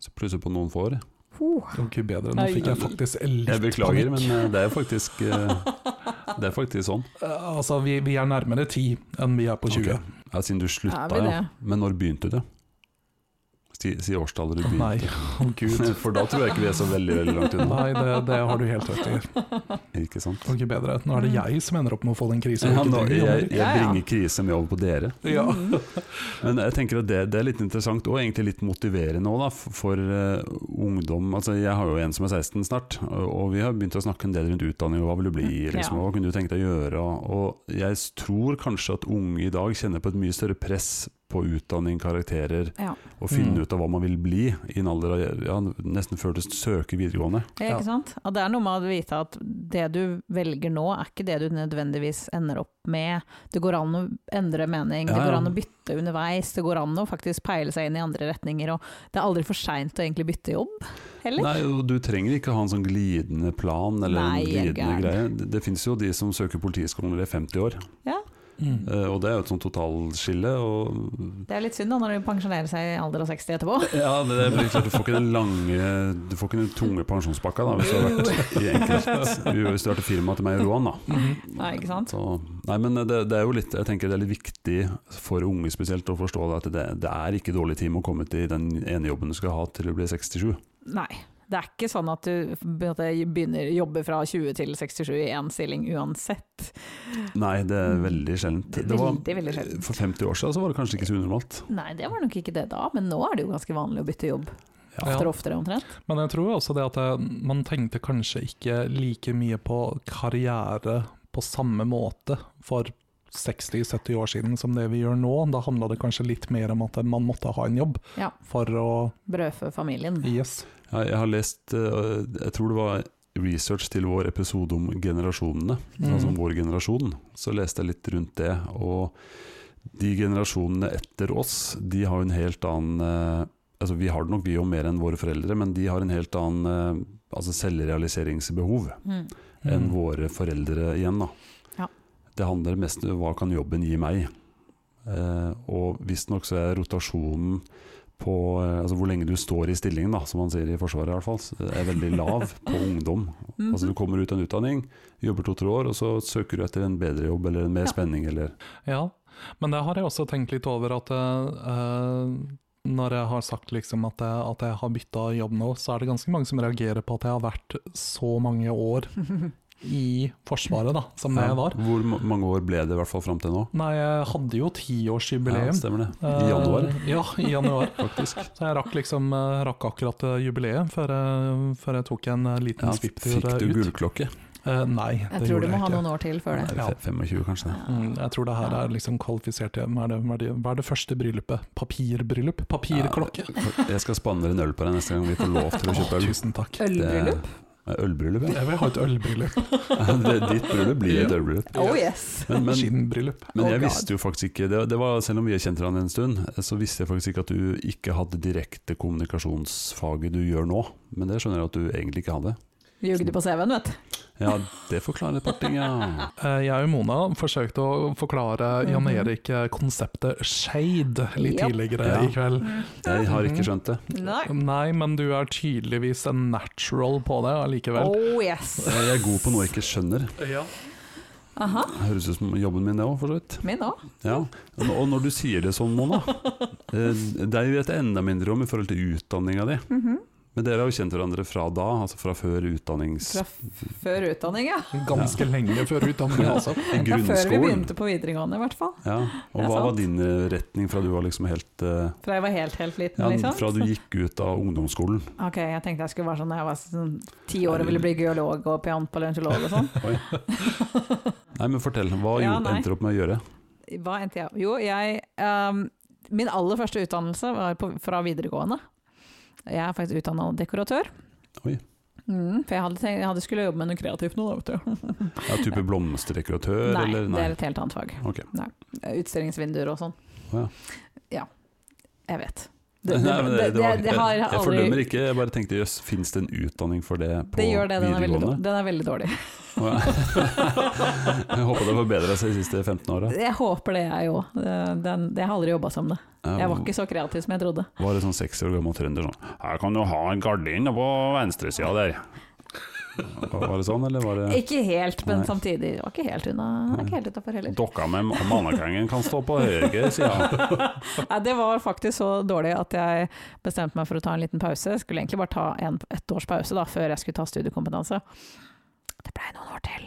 Speaker 1: Så plusser på noen få år.
Speaker 2: Huh.
Speaker 3: Det var ikke bedre. Nå fikk jeg faktisk litt
Speaker 1: Jeg beklager,
Speaker 3: panikk.
Speaker 1: men eh, det er faktisk, eh, det er faktisk sånn.
Speaker 3: Eh, Altså, vi, vi er nærmere ti enn vi er på 20.
Speaker 1: Ok. Ja, siden du slutta,
Speaker 2: Er vi det?
Speaker 1: ja. Men når begynte du? si, si årstallet du
Speaker 3: Nei,
Speaker 1: begynte.
Speaker 3: å gud.
Speaker 1: For da tror jeg ikke vi er så veldig veldig langt unna.
Speaker 3: Nei, det, det har du helt rett i.
Speaker 1: Ikke sant?
Speaker 3: Og ikke bedre. Nå er det jeg som ender opp med å få den krisen.
Speaker 1: Ja,
Speaker 3: ikke
Speaker 1: nå,
Speaker 3: du,
Speaker 1: jeg,
Speaker 3: Henrik.
Speaker 2: Ja,
Speaker 1: jeg
Speaker 2: ja.
Speaker 1: bringer krise med over på dere.
Speaker 3: Ja.
Speaker 2: Mhm.
Speaker 1: Men jeg tenker at det, det er litt interessant og egentlig litt motiverende også, da, f- for eh, ungdom. Altså, jeg har jo en som er 16 snart, og, og vi har begynt å snakke en del rundt utdanning og hva vil du bli,
Speaker 2: Mm,
Speaker 1: liksom,
Speaker 2: ja.
Speaker 1: og hva kunne du tenke deg å gjøre? Og, og jeg tror kanskje at unge i dag kjenner på et mye større press på utdanning, karakterer,
Speaker 2: Ja.
Speaker 1: og finne
Speaker 3: Mm.
Speaker 1: ut av hva man vil bli i en alder av ja, nesten før du søker videregående.
Speaker 2: Ja,
Speaker 3: Ja.
Speaker 2: ikke sant? Og det er noe med å vite at det du velger nå, er ikke det du nødvendigvis ender opp med. Det går an å endre mening,
Speaker 1: Ja,
Speaker 2: det
Speaker 1: ja.
Speaker 2: går an å bytte underveis, det går an å faktisk peile seg inn i andre retninger. Og det er aldri for seint å egentlig bytte jobb, heller.
Speaker 1: Nei, og du trenger ikke ha en sånn glidende plan eller
Speaker 2: Nei,
Speaker 1: en
Speaker 2: jeg er
Speaker 1: glidende
Speaker 2: gæren.
Speaker 1: greie. Det, det finnes jo de som søker politiskolen når de er 50 år,
Speaker 3: Mm.
Speaker 1: eh, og det er jo et sånt totalskille. Og
Speaker 2: Det er litt synd da, når de pensjonerer seg i alder av 60 etterpå.
Speaker 1: Ja, det, det blir klart du får ikke den lange Du får ikke den tunge pensjonspakka da, hvis du har vært i enkelt Hvis du har vært i firma til meg og Roan, da.
Speaker 3: Mhm.
Speaker 2: Nei, ikke sant?
Speaker 1: Så, nei, men det, det er jo litt Jeg tenker det er litt viktig for unge spesielt å forstå det at det, det er ikke dårlig tid med å komme til den ene jobben du skal ha til du blir 67.
Speaker 2: Nei. Det er ikke sånn at du begynner å jobbe fra 20 til 67 i én stilling uansett.
Speaker 1: Nei, det er veldig sjeldent. Det var,
Speaker 2: Mm. Veldig, veldig sjeldent.
Speaker 1: for 50 år siden så var det kanskje ikke så unormalt.
Speaker 2: Nei, det var nok ikke det da, men nå er det jo ganske vanlig å bytte jobb.
Speaker 3: Ja.
Speaker 2: Oftere og oftere, omtrent.
Speaker 3: Men jeg tror også det at eh, man tenkte kanskje ikke like mye på karriere på samme måte for 60-70 år siden som det vi gjør nå. Da handla det kanskje litt mer om at man måtte ha en jobb
Speaker 2: Ja.
Speaker 3: for å
Speaker 2: Brødfø familien.
Speaker 3: Yes.
Speaker 1: Ja, jeg har lest eh, Jeg tror det var research til vår episode om generasjonene,
Speaker 3: Mhm.
Speaker 1: altså om vår generasjon. Så leste jeg litt rundt det. Og de generasjonene etter oss, de har jo en helt annen eh, Altså Vi har det nok vi jo mer enn våre foreldre, men de har en helt annen eh, altså selvrealiseringsbehov
Speaker 2: Mm.
Speaker 1: enn
Speaker 3: Mm.
Speaker 1: våre foreldre igjen. da.
Speaker 2: Ja.
Speaker 1: Det handler mest om hva kan jobben gi meg. Eh, og visstnok så er rotasjonen på eh, altså hvor lenge du står i stillingen, da, som man sier i Forsvaret i hvert fall, s- er veldig lav på ungdom.
Speaker 3: Mhm.
Speaker 1: Altså Du kommer ut av en utdanning, jobber to-tre år, og så søker du etter en bedre jobb eller en mer
Speaker 2: Ja.
Speaker 1: spenning. Eller.
Speaker 3: Ja, men det har jeg også tenkt litt over at eh, når jeg har sagt liksom at, jeg, at jeg har bytta jobb nå, så er det ganske mange som reagerer på at jeg har vært så mange år i Forsvaret da, som det jeg var.
Speaker 1: Hvor ma- mange år ble det i hvert fall fram til nå?
Speaker 3: Nei, jeg hadde jo tiårsjubileum.
Speaker 1: Ja, stemmer det. I januar,
Speaker 3: Eh, ja, i januar.
Speaker 1: faktisk.
Speaker 3: Så jeg rakk, liksom, eh, rakk akkurat eh, jubileet før jeg, før jeg tok en eh, liten
Speaker 1: Ja,
Speaker 3: svipptur
Speaker 1: fikk
Speaker 3: eh,
Speaker 1: du
Speaker 3: ut.
Speaker 1: gullklokke?
Speaker 3: Eh, nei, det
Speaker 2: Jeg tror du
Speaker 3: gjorde
Speaker 2: må
Speaker 3: jeg
Speaker 2: ha
Speaker 3: ikke.
Speaker 2: noen år til før det.
Speaker 1: Nei,
Speaker 3: Ja.
Speaker 1: fe- 25, kanskje. det.
Speaker 3: Mm, jeg tror det her er liksom kvalifisert til Hva er det, hva er det, hva er det første bryllupet? Papirbryllup? Papirklokke?
Speaker 1: Jeg skal spandere en øl på deg neste gang vi får lov til å kjøpe
Speaker 3: Å,
Speaker 1: øl.
Speaker 3: tusen takk.
Speaker 2: Ølbryllup?
Speaker 1: Det er Ølbryllup, ja.
Speaker 3: Jeg vil ha et ølbryllup.
Speaker 1: det, ditt bryllup blir et ølbryllup.
Speaker 2: Oh yes!
Speaker 1: Men, men,
Speaker 3: Skinnbryllup.
Speaker 1: men
Speaker 2: Oh
Speaker 1: jeg
Speaker 2: God.
Speaker 1: visste jo faktisk ikke det, det var, Selv om vi har kjent hverandre en stund, så visste jeg faktisk ikke at du ikke hadde direkte kommunikasjonsfaget du gjør nå. Men det skjønner jeg at du egentlig ikke hadde.
Speaker 2: Ljugde på CV-en, vet du.
Speaker 1: Ja, det forklarer et par ting, ja.
Speaker 3: Eh, Jeg og Mona forsøkte å forklare
Speaker 2: Mhm.
Speaker 3: Jan Erik eh, konseptet shade litt
Speaker 2: Yep.
Speaker 3: tidligere
Speaker 1: Ja.
Speaker 3: i kveld.
Speaker 1: Jeg har ikke skjønt det.
Speaker 2: Nei.
Speaker 3: Nei, men du er tydeligvis en natural på det allikevel.
Speaker 2: Oh yes!
Speaker 1: Jeg er god på noe jeg ikke skjønner.
Speaker 3: Ja.
Speaker 2: Aha,
Speaker 1: Høres ut som jobben min, det òg, for så vidt.
Speaker 2: min òg.
Speaker 1: Ja. Og når du sier det sånn, Mona, eh, det vet jeg enda mindre om i forhold til utdanninga di.
Speaker 2: Mm-hmm.
Speaker 1: Men dere har jo kjent hverandre fra da, altså fra før utdannings...
Speaker 2: Fra f- før utdanning, ja.
Speaker 3: Ganske lenge før utdanningen, altså.
Speaker 1: I
Speaker 2: Fra før vi
Speaker 1: grunnskolen.
Speaker 2: begynte på videregående, i hvert fall.
Speaker 1: Ja, og
Speaker 2: Det er
Speaker 1: hva var
Speaker 2: sant.
Speaker 1: din eh, retning fra du var liksom helt eh,
Speaker 2: Fra jeg var helt, helt liten,
Speaker 1: ja,
Speaker 2: liksom.
Speaker 1: Fra du gikk ut av ungdomsskolen?
Speaker 2: Ok, jeg tenkte jeg skulle være sånn da jeg var sånn ti år og ville bli geolog og pianpaleontolog og sånn.
Speaker 1: Oi. Nei, men fortell. Hva
Speaker 2: Ja,
Speaker 1: gjorde-
Speaker 2: nei.
Speaker 1: endte du opp med å gjøre?
Speaker 2: Hva endte jeg Jo, jeg ehm, Min aller første utdannelse var på, fra videregående. Jeg er faktisk utdanna dekoratør.
Speaker 1: Oi.
Speaker 2: Mm, for jeg hadde, tenkt, jeg hadde skulle jobbe med noe kreativt nå, da, vet du.
Speaker 1: Ja, type blomsterdekoratør,
Speaker 2: Nei,
Speaker 1: eller?
Speaker 2: det er et helt annet fag.
Speaker 1: Ok.
Speaker 2: Nei. Utstillingsvinduer og sånn.
Speaker 1: Å ja.
Speaker 2: Ja. Jeg vet.
Speaker 1: Nei, men det- det var-
Speaker 2: det- det har
Speaker 1: jeg, jeg
Speaker 2: aldri-
Speaker 1: fordømmer ikke, jeg bare tenkte jøss, fins det en utdanning for det på
Speaker 2: det gjør det, den er veldig, dår-
Speaker 1: videregående?
Speaker 2: den er veldig dårlig.
Speaker 1: Å, ja. jeg håper det har forbedra seg de siste 15 åra.
Speaker 2: Jeg håper det, jeg òg. Jeg har aldri jobba som det. Jeg var ikke så kreativ som jeg trodde.
Speaker 1: Var det sånn 60 år gammel trønder sånn Her kan du ha en gardin på venstresida der. Var det sånn, eller var det
Speaker 2: Ikke helt, men
Speaker 1: Nei.
Speaker 2: samtidig. Det var ikke helt unna. det var Ikke helt utenfor heller.
Speaker 1: Dokka med mannekrengen kan stå på høyre side.
Speaker 2: Nei, det var faktisk så dårlig at jeg bestemte meg for å ta en liten pause. Jeg skulle egentlig bare ta en, et års pause da, før jeg skulle ta studiekompetanse. Det blei noen år til.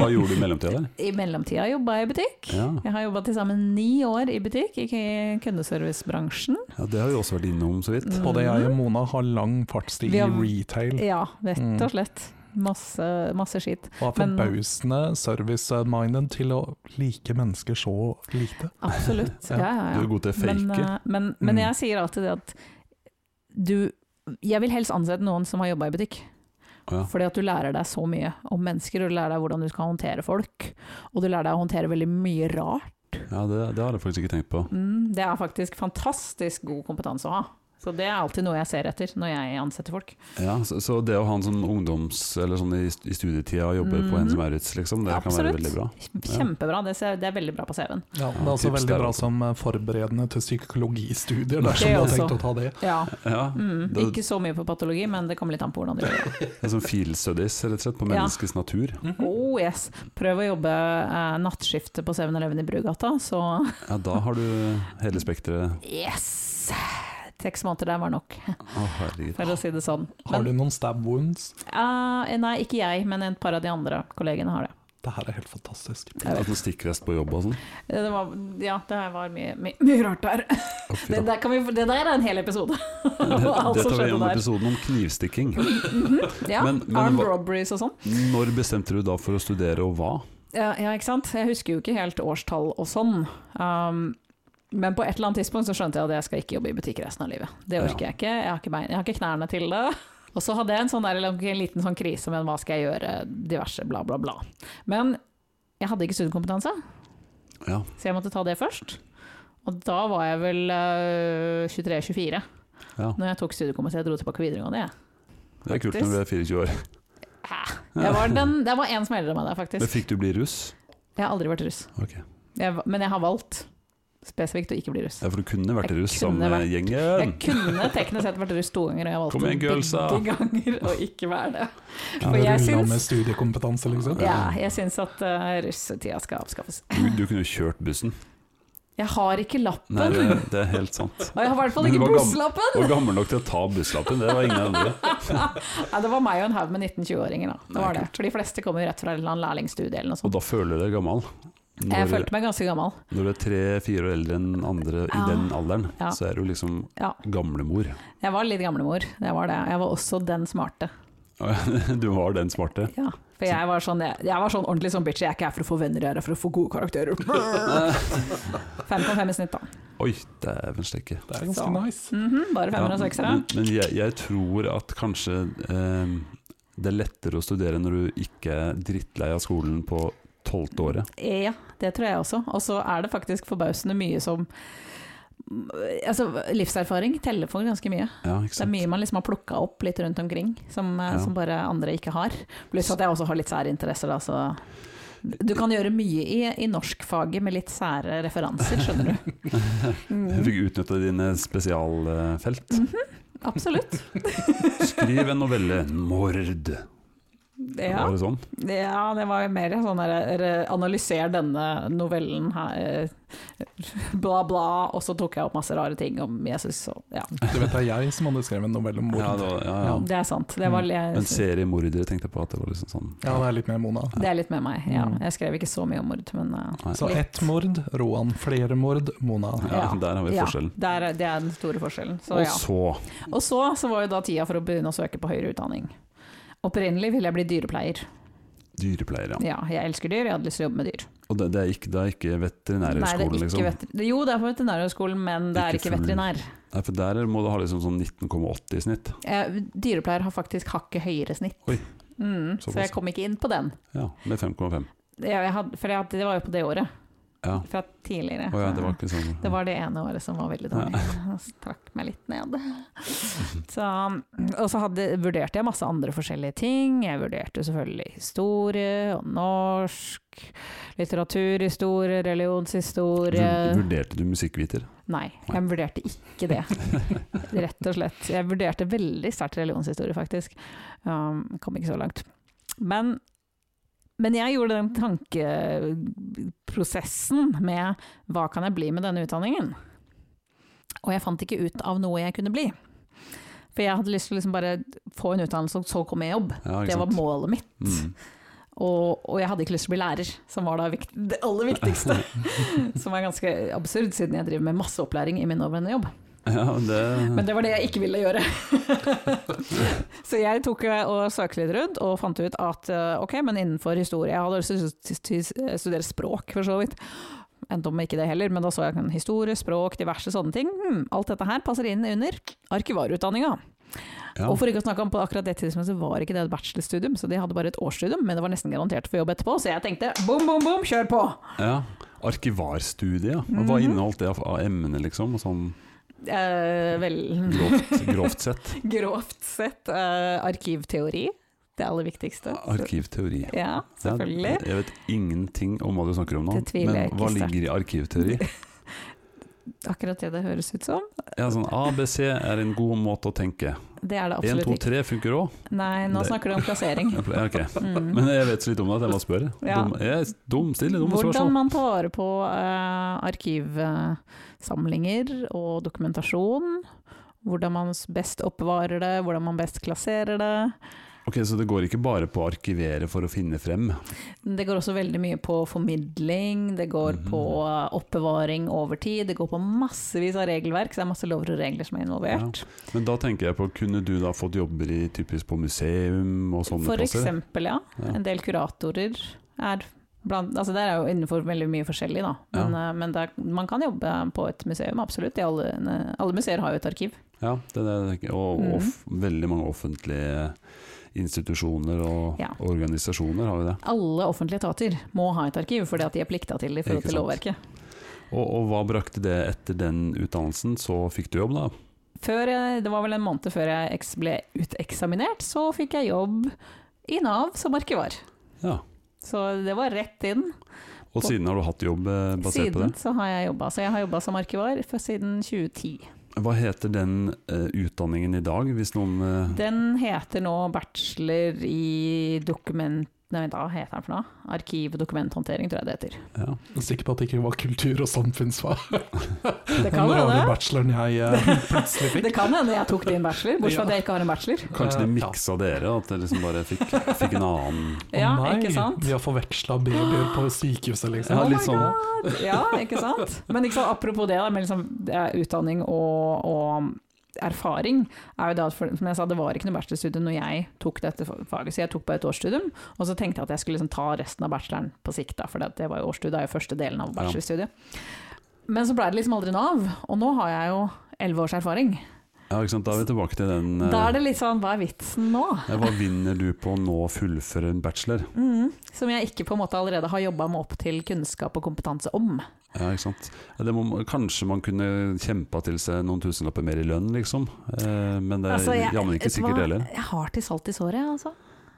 Speaker 1: Hva gjorde du i mellomtida der?
Speaker 2: I mellomtida jobba jeg i butikk.
Speaker 1: Ja.
Speaker 2: Jeg har jobba til sammen ni år i butikk, ikke i kundeservicebransjen.
Speaker 1: ja, det har vi også vært innom så vidt.
Speaker 3: Både jeg og Mona har lang fartstid
Speaker 2: Vi
Speaker 3: i
Speaker 2: har-
Speaker 3: retail.
Speaker 2: Ja, rett
Speaker 3: Mm.
Speaker 2: og slett. Masse, masse skit.
Speaker 3: Og er
Speaker 2: men-
Speaker 3: forbausende service-minded til å like mennesker så lite.
Speaker 2: Absolutt.
Speaker 3: Ja,
Speaker 2: Ja, ja,
Speaker 1: Du
Speaker 2: ja.
Speaker 1: er god til å
Speaker 2: Men,
Speaker 1: fake.
Speaker 2: eh, men, men
Speaker 3: Mm.
Speaker 2: jeg sier alltid det at du Jeg vil helst ansette noen som har jobba i butikk.
Speaker 1: Å ja.
Speaker 2: Fordi at du lærer deg så mye om mennesker, og du lærer deg hvordan du skal håndtere folk. Og du lærer deg å håndtere veldig mye rart.
Speaker 1: ja, det, det har jeg faktisk ikke tenkt på.
Speaker 2: Mm, det er faktisk fantastisk god kompetanse å ha. Så det er alltid noe jeg ser etter når jeg ansetter folk.
Speaker 1: Ja, så, så det å ha en sånn ungdoms... Eller sånn i, i studietida og jobbe på
Speaker 2: Mhm.
Speaker 1: Hennes Maurits, liksom, det kan være
Speaker 2: Absolutt.
Speaker 1: veldig bra.
Speaker 2: Kjempebra, det, ser, det er veldig bra på CV-en.
Speaker 3: Ja, det er også
Speaker 1: tips
Speaker 3: veldig
Speaker 1: der
Speaker 3: bra
Speaker 1: også.
Speaker 3: som eh, forberedende til psykologistudier,
Speaker 2: Det
Speaker 3: dersom du har
Speaker 2: også.
Speaker 3: tenkt å ta det.
Speaker 2: Ja.
Speaker 1: Ja,
Speaker 2: Mm,
Speaker 1: det,
Speaker 2: ikke så mye på patologi, men det kommer litt an på hvordan du gjør det.
Speaker 1: det er sånn field studies, rett og slett, på
Speaker 2: Ja.
Speaker 1: menneskets natur.
Speaker 2: Oh yes! Prøv å jobbe eh, nattskiftet på 7-Eleven i Brugata, så
Speaker 1: Ja, da har du hele spekteret.
Speaker 2: yes! Seks måneder der var nok,
Speaker 1: Å, herregud.
Speaker 2: for å si det sånn.
Speaker 3: Har
Speaker 2: Men,
Speaker 3: du noen stab wounds?
Speaker 2: eh, nei, ikke jeg, men et par av de andre kollegene har det.
Speaker 3: Det her er helt fantastisk.
Speaker 2: Jeg
Speaker 1: At noen stikkvest på jobb og sånn.
Speaker 2: Eh, Det var, ja, det her var mye, mye, mye rart der.
Speaker 1: Å, fy
Speaker 2: Det
Speaker 1: da.
Speaker 2: der, kan vi, det der er en hel episode.
Speaker 1: Det,
Speaker 2: alt
Speaker 1: det
Speaker 2: som
Speaker 1: tar vi
Speaker 2: skjedde
Speaker 1: gjennom
Speaker 2: der.
Speaker 1: episoden om knivstikking.
Speaker 2: Ja,
Speaker 1: Men- men
Speaker 2: Armed
Speaker 1: hva-
Speaker 2: robberies og sånn.
Speaker 1: Når bestemte du da for å studere, og hva?
Speaker 2: Ja, ja, ikke sant? Jeg husker jo ikke helt årstall og sånn. Um, men på et eller annet tidspunkt så skjønte jeg at jeg skal ikke jobbe i butikk resten av livet. Det orker
Speaker 1: Ja.
Speaker 2: jeg ikke. Jeg har ikke, bein, jeg har ikke knærne til det. Og så hadde jeg en, sånn der, en liten sånn krise med hva skal jeg gjøre, diverse bla, bla, bla. Men jeg hadde ikke studiekompetanse,
Speaker 1: Ja,
Speaker 2: så jeg måtte ta det først. Og da var jeg vel øh, 23-24
Speaker 1: ja.
Speaker 2: når jeg tok studiekompetanse. Jeg dro tilbake videregående, jeg.
Speaker 1: Det er kult når du er 24 år.
Speaker 2: Jeg var, den, jeg var en som eldre enn meg der,
Speaker 1: Men
Speaker 2: faktisk.
Speaker 1: fikk du bli russ?
Speaker 2: Jeg har aldri vært russ.
Speaker 1: Ok.
Speaker 2: Jeg, var- men jeg har valgt spesifikt å ikke bli russ.
Speaker 1: Ja, for du kunne vært
Speaker 2: Jeg
Speaker 1: russ
Speaker 2: kunne
Speaker 1: sammen med
Speaker 2: vært- Jeg
Speaker 1: gjengen.
Speaker 2: kunne teknisk sett vært russ to ganger, og jeg valgte
Speaker 1: Kom igjen, girlsa.
Speaker 2: begge ganger å ikke være det.
Speaker 3: Kunne
Speaker 2: jeg
Speaker 3: rulla
Speaker 2: syns-
Speaker 3: med studiekompetanse, liksom.
Speaker 2: Ja, jeg syns at eh, russetida skal avskaffes.
Speaker 1: Du, du kunne jo kjørt bussen.
Speaker 2: Jeg har ikke lappen,
Speaker 1: Nei, det, det er helt sant.
Speaker 2: og jeg har i hvert fall
Speaker 1: Men du
Speaker 2: ikke
Speaker 1: var gammel.
Speaker 2: busslappen!
Speaker 1: Og gammel nok til å ta busslappen, det var ingen andre.
Speaker 2: Nei, det var meg og en haug med 19-20-åringer, da. Det
Speaker 1: Nei,
Speaker 2: var det. For de fleste kommer jo rett fra en eller annen lærlingstudie eller noe
Speaker 1: Og
Speaker 2: sånt.
Speaker 1: da føler du deg gammel.
Speaker 2: Jeg
Speaker 1: Når,
Speaker 2: følte meg ganske gammel.
Speaker 1: når du er tre-fire år eldre enn andre i
Speaker 2: Ja.
Speaker 1: den alderen,
Speaker 2: Ja.
Speaker 1: så er du liksom
Speaker 2: Ja.
Speaker 1: gamlemor.
Speaker 2: Jeg var litt gamlemor, jeg var det. Jeg var også den smarte.
Speaker 1: Du var den smarte.
Speaker 2: Ja. For jeg var, sånn, jeg, jeg var sånn ordentlig sånn bitch, jeg er ikke her for å få venner, jeg er her for å få gode karakterer. 5,5 i snitt, da.
Speaker 1: Oi, dæven steike.
Speaker 3: Det er ganske
Speaker 2: Så.
Speaker 3: nice.
Speaker 2: Mhm, bare femmer og seksere.
Speaker 1: men men jeg, jeg tror at kanskje eh, det er lettere å studere når du ikke er drittlei av skolen på tolvte året.
Speaker 2: Ja, det tror jeg også. Og så er det faktisk forbausende mye som Altså, livserfaring teller for ganske mye.
Speaker 1: Ja, ikke
Speaker 2: Mm. Det er
Speaker 1: sant?
Speaker 2: mye man liksom har plukka opp litt rundt omkring, som, eh,
Speaker 1: Ja.
Speaker 2: som bare andre ikke har. Pluss at jeg også har litt sære interesser, da, så Du kan gjøre mye i, i norskfaget med litt sære referanser, skjønner du. Mm,
Speaker 1: Du fikk utnytta dine spesialfelt.
Speaker 2: Absolutt.
Speaker 1: Skriv en novelle. 'Mord'.
Speaker 2: Ja.
Speaker 1: Var det sånn?
Speaker 2: Ja, det var mer sånn der re- Analyser denne novellen her, eh, bla, bla, og så tok jeg opp masse rare ting om Jesus og ja.
Speaker 3: Du vet det er jeg som hadde skrevet en novelle om mord.
Speaker 1: Ja, det var, ja, ja.
Speaker 2: Det er sant. Det, var,
Speaker 1: Men
Speaker 2: jeg,
Speaker 1: seriemordere tenkte jeg på at det var liksom sånn
Speaker 3: Ja, det er litt mer Mona.
Speaker 2: det er litt med meg. Ja,
Speaker 3: Mm.
Speaker 2: jeg skrev ikke så mye om mord, men eh,
Speaker 1: Nei.
Speaker 3: Så
Speaker 2: Litt.
Speaker 3: ett mord, Roan flere mord, Mona.
Speaker 1: ja, Der har vi
Speaker 2: ja,
Speaker 1: forskjellen.
Speaker 2: der, er- det er den store forskjellen. Så,
Speaker 1: Og
Speaker 2: ja.
Speaker 1: så
Speaker 2: Og så, så var jo da tida for å begynne å søke på høyere utdanning. Opprinnelig ville jeg bli dyrepleier.
Speaker 1: dyrepleier, ja.
Speaker 2: Ja, jeg elsker dyr, jeg hadde lyst til å jobbe med dyr.
Speaker 1: Og det, det er ikke, det er ikke
Speaker 2: Nei, det er
Speaker 1: veterinærhøgskolen,
Speaker 2: ikke
Speaker 1: liksom.
Speaker 2: veter- jo, det er på veterinærhøgskolen, men det er
Speaker 1: Ikke
Speaker 2: ikke
Speaker 1: full-
Speaker 2: veterinær.
Speaker 1: Nei, for der må du ha liksom sånn 19,80 i snitt.
Speaker 2: Eh, dyrepleier har faktisk hakket høyere snitt.
Speaker 1: Oi.
Speaker 2: Mm,
Speaker 1: Såpass.
Speaker 2: så jeg kom ikke inn på den.
Speaker 1: Ja, med 5,5.
Speaker 2: Jeg, jeg hadde, for jeg hadde, det var jo på det året.
Speaker 1: Ja.
Speaker 2: fra tidligere.
Speaker 1: Å ja, det var ikke sånn
Speaker 2: Det var det ene året som var veldig dårlig. Jeg trakk meg litt ned. Så, og så hadde, vurderte jeg masse andre forskjellige ting. Jeg vurderte selvfølgelig historie og norsk, litteraturhistorie, religionshistorie.
Speaker 1: Vur- Vurderte du musikkviter?
Speaker 2: Nei, jeg vurderte ikke det. Rett og slett. Jeg vurderte veldig sterkt religionshistorie, faktisk. Um, kom ikke så langt. Men, men jeg gjorde den tankeprosessen med hva kan jeg bli med denne utdanningen? Og jeg fant ikke ut av noe jeg kunne bli. For jeg hadde lyst til å liksom bare få en utdannelse, og så kom jeg i jobb.
Speaker 1: Ja, ikke
Speaker 2: Det var
Speaker 1: sant?
Speaker 2: målet mitt.
Speaker 1: Mm.
Speaker 2: Og, og jeg hadde ikke lyst til å bli lærer, som var da vikt, det aller viktigste. som er ganske absurd, siden jeg driver med masse opplæring i min nåværende jobb.
Speaker 1: Ja, det,
Speaker 2: Men det var det jeg ikke ville gjøre. så jeg tok eh, og søkte litt rundt, og fant ut at eh, ok, men innenfor historie Jeg hadde lyst til å stu- studere språk, for så vidt. Endte opp med ikke det heller, men da så jeg historie, språk, diverse sånne ting. Hm, alt dette her passer inn under arkivarutdanninga.
Speaker 1: ja.
Speaker 2: Og for ikke å snakke om på akkurat det tidspunktet så var ikke det et bachelorstudium, så de hadde bare et årsstudium, men det var nesten garantert for jobb etterpå, så jeg tenkte bom, bom, bom, kjør på!
Speaker 1: ja. Arkivarstudie, ja. Og
Speaker 2: Mhm.
Speaker 1: Hva inneholdt det av av emner, liksom? og Sånn
Speaker 2: Eh, vel,
Speaker 1: grovt, grovt sett.
Speaker 2: grovt sett eh, arkivteori, det aller viktigste.
Speaker 1: Arkivteori. Ja,
Speaker 2: Ja, selvfølgelig.
Speaker 1: Jeg vet ingenting om hva du snakker om nå,
Speaker 2: Det tviler jeg
Speaker 1: men
Speaker 2: ikke
Speaker 1: hva
Speaker 2: sterkt.
Speaker 1: ligger i arkivteori?
Speaker 2: Akkurat det det høres ut som.
Speaker 1: Ja, sånn ABC er en god måte å tenke.
Speaker 2: Det er det
Speaker 1: 1, 2,
Speaker 2: absolutt
Speaker 1: 3
Speaker 2: ikke.
Speaker 1: funker òg.
Speaker 2: Nei, nå
Speaker 1: Det-
Speaker 2: snakker du om plassering.
Speaker 1: Ok,
Speaker 2: Mm.
Speaker 1: men jeg vet så litt om det at jeg må spørre.
Speaker 2: Ja.
Speaker 1: Dum, jeg er dum, stille dumme
Speaker 2: Hvordan
Speaker 1: spørsmål.
Speaker 2: man tar vare på eh, arkivsamlinger og dokumentasjon. Hvordan man s- best oppbevarer det, hvordan man best klasserer det.
Speaker 1: Ok, Så det går ikke bare på å arkivere for å finne frem?
Speaker 2: Det går også veldig mye på formidling, det går
Speaker 1: Mhm.
Speaker 2: på eh, oppbevaring over tid, det går på massevis av regelverk, så det er masse lover og regler som er involvert.
Speaker 1: Men da tenker jeg på, kunne du da fått jobber i, typisk på museum og sånne
Speaker 2: For
Speaker 1: plasser?
Speaker 2: eksempel, ja.
Speaker 1: Ja.
Speaker 2: En del kuratorer er blant Altså det er jo innenfor veldig mye forskjellig, da. Men, eh, men det er, man kan jobbe på et museum, absolutt. I alle, alle museer har jo et arkiv.
Speaker 1: Ja, det er det jeg tenker. Og, og
Speaker 2: Mhm.
Speaker 1: f- veldig mange offentlige institusjoner og
Speaker 2: Ja.
Speaker 1: organisasjoner har jo det.
Speaker 2: Alle offentlige etater må ha et arkiv, fordi at de er plikta til det i
Speaker 1: Ikke
Speaker 2: forhold til
Speaker 1: sant.
Speaker 2: lovverket.
Speaker 1: Og, og hva brakte det etter den utdannelsen? Så fikk du jobb, da?
Speaker 2: Før jeg, det var vel en måned før jeg eks- ble uteksaminert, så fikk jeg jobb i Nav som arkivar.
Speaker 1: Ja.
Speaker 2: Så det var rett inn.
Speaker 1: Og siden har du hatt jobb eh, basert på det?
Speaker 2: Siden så har jeg jobba. Så jeg har jobba som arkivar for, siden 2010.
Speaker 1: Hva heter den eh, utdanningen i dag, hvis noen eh,
Speaker 2: Den heter nå bachelor i dokument... Nei, hva heter den for noe? Arkiv- og dokumenthåndtering, tror jeg det heter.
Speaker 1: ja.
Speaker 3: Jeg er sikker på at det ikke var kultur- og samfunnsfag.
Speaker 2: Det
Speaker 3: Det
Speaker 2: kan
Speaker 3: var den
Speaker 2: hende.
Speaker 3: bacheloren jeg eh, plutselig fikk.
Speaker 2: Det kan hende jeg tok din bachelor, bortsett fra at jeg ikke har en bachelor.
Speaker 1: Kanskje de
Speaker 3: Eh, ja.
Speaker 1: miksa dere, at dere liksom bare fikk, fikk en annen
Speaker 3: Å
Speaker 2: Ja,
Speaker 3: nei,
Speaker 2: ikke sant?
Speaker 3: Vi har forveksla babyer på sykehuset, liksom.
Speaker 1: Ja,
Speaker 2: Oh my
Speaker 1: litt sånn.
Speaker 2: God! Ja, ikke sant? Men ikke sant, apropos det, da, med liksom, eh, utdanning og, og erfaring, er jo det at for, som jeg sa, det var ikke noe bachelorstudium når jeg tok dette faget, så jeg tok bare et årsstudium, og så tenkte jeg at jeg skulle liksom ta resten av bacheloren på sikt, da, for det, det var jo årsstudiet, det er jo første delen av bachelorstudiet. Men så ble det liksom aldri Nav, og nå har jeg jo elleve års erfaring.
Speaker 1: Ja, ikke sant. Da er vi tilbake til den eh,
Speaker 2: Da er det litt sånn, hva er vitsen nå?
Speaker 1: ja, Hva vinner du på å nå fullføre en bachelor?
Speaker 2: Mhm. som jeg ikke på en måte allerede har jobba meg opp til kunnskap og kompetanse om.
Speaker 1: Ja, ikke sant. Ja, Det må, kanskje man kunne kjempa til seg noen tusenlapper mer i lønn, liksom. Eh, men det er
Speaker 2: Altså, jeg-
Speaker 1: jammen ikke
Speaker 2: vet du hva?
Speaker 1: sikkert det heller.
Speaker 2: Jeg har til salt i såret, jeg, altså.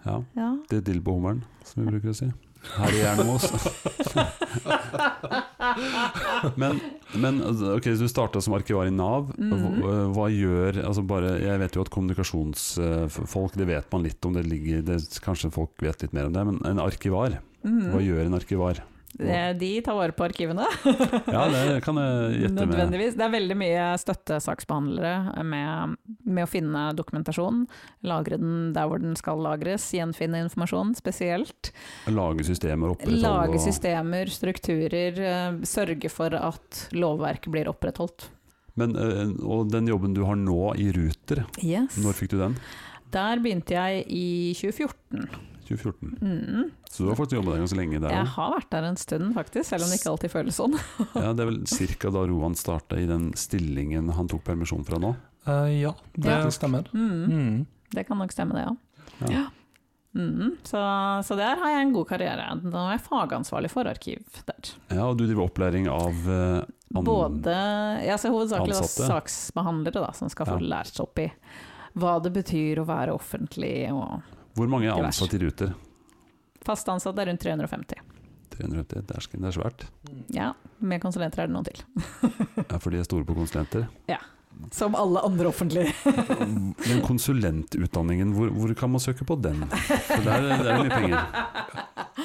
Speaker 1: Ja,
Speaker 2: Ja.
Speaker 1: det er dilbohummeren, som vi bruker å si. Her i Jernås. men, men altså, ok, så du starta som arkivar i Nav.
Speaker 2: Mhm.
Speaker 1: Hva, hva gjør altså bare, Jeg vet jo at kommunikasjonsfolk, det vet man litt om, det ligger det, Kanskje folk vet litt mer om det, men en arkivar,
Speaker 2: Mhm.
Speaker 1: hva gjør en arkivar?
Speaker 2: Eh, De tar vare på arkivene.
Speaker 1: Ja, det kan jeg gjette med.
Speaker 2: Nødvendigvis. Det er veldig mye støttesaksbehandlere med, med å finne dokumentasjon, lagre den der hvor den skal lagres, gjenfinne informasjon spesielt.
Speaker 1: sånn Lage systemer, opprettholde
Speaker 2: Lage
Speaker 1: og-
Speaker 2: systemer, strukturer, eh, sørge for at lovverket blir opprettholdt.
Speaker 1: Men, eh, og den jobben du har nå i Ruter,
Speaker 2: Yes.
Speaker 1: når fikk du den?
Speaker 2: Der begynte jeg i 2014.
Speaker 1: 2014.
Speaker 2: Mhm.
Speaker 1: Så du har faktisk jobba der ganske lenge der
Speaker 2: Jeg
Speaker 1: òg.
Speaker 2: har vært der en stund, faktisk, selv om det ikke alltid føles sånn.
Speaker 1: Ja, det er vel ca. da Roan starta i den stillingen han tok permisjon fra nå.
Speaker 3: Eh, ja, det
Speaker 2: Ja.
Speaker 3: stemmer.
Speaker 2: Mm.
Speaker 3: Mm.
Speaker 2: Det kan nok stemme, det, ja.
Speaker 1: Ja.
Speaker 2: Ja. Mhm. så, så der har jeg en god karriere. Nå er jeg fagansvarlig for arkiv der.
Speaker 1: Ja, og du driver opplæring av eh, an-
Speaker 2: Både ja, så Hovedsakelig da
Speaker 1: Ansatte.
Speaker 2: saksbehandlere da, som skal få
Speaker 1: Ja.
Speaker 2: lært seg opp i hva det betyr å være offentlig. Og
Speaker 1: Hvor mange er
Speaker 2: Divers.
Speaker 1: ansatt i Ruter?
Speaker 2: fast ansatte er rundt 350.
Speaker 1: 350, det er sk- det er svært.
Speaker 3: Mm.
Speaker 2: Ja, med konsulenter er det noen til.
Speaker 1: Ja, for de er store på konsulenter.
Speaker 2: Som alle andre offentlige.
Speaker 1: Men konsulentutdanningen, hvor, hvor kan man søke på den? For der, der er det mye penger.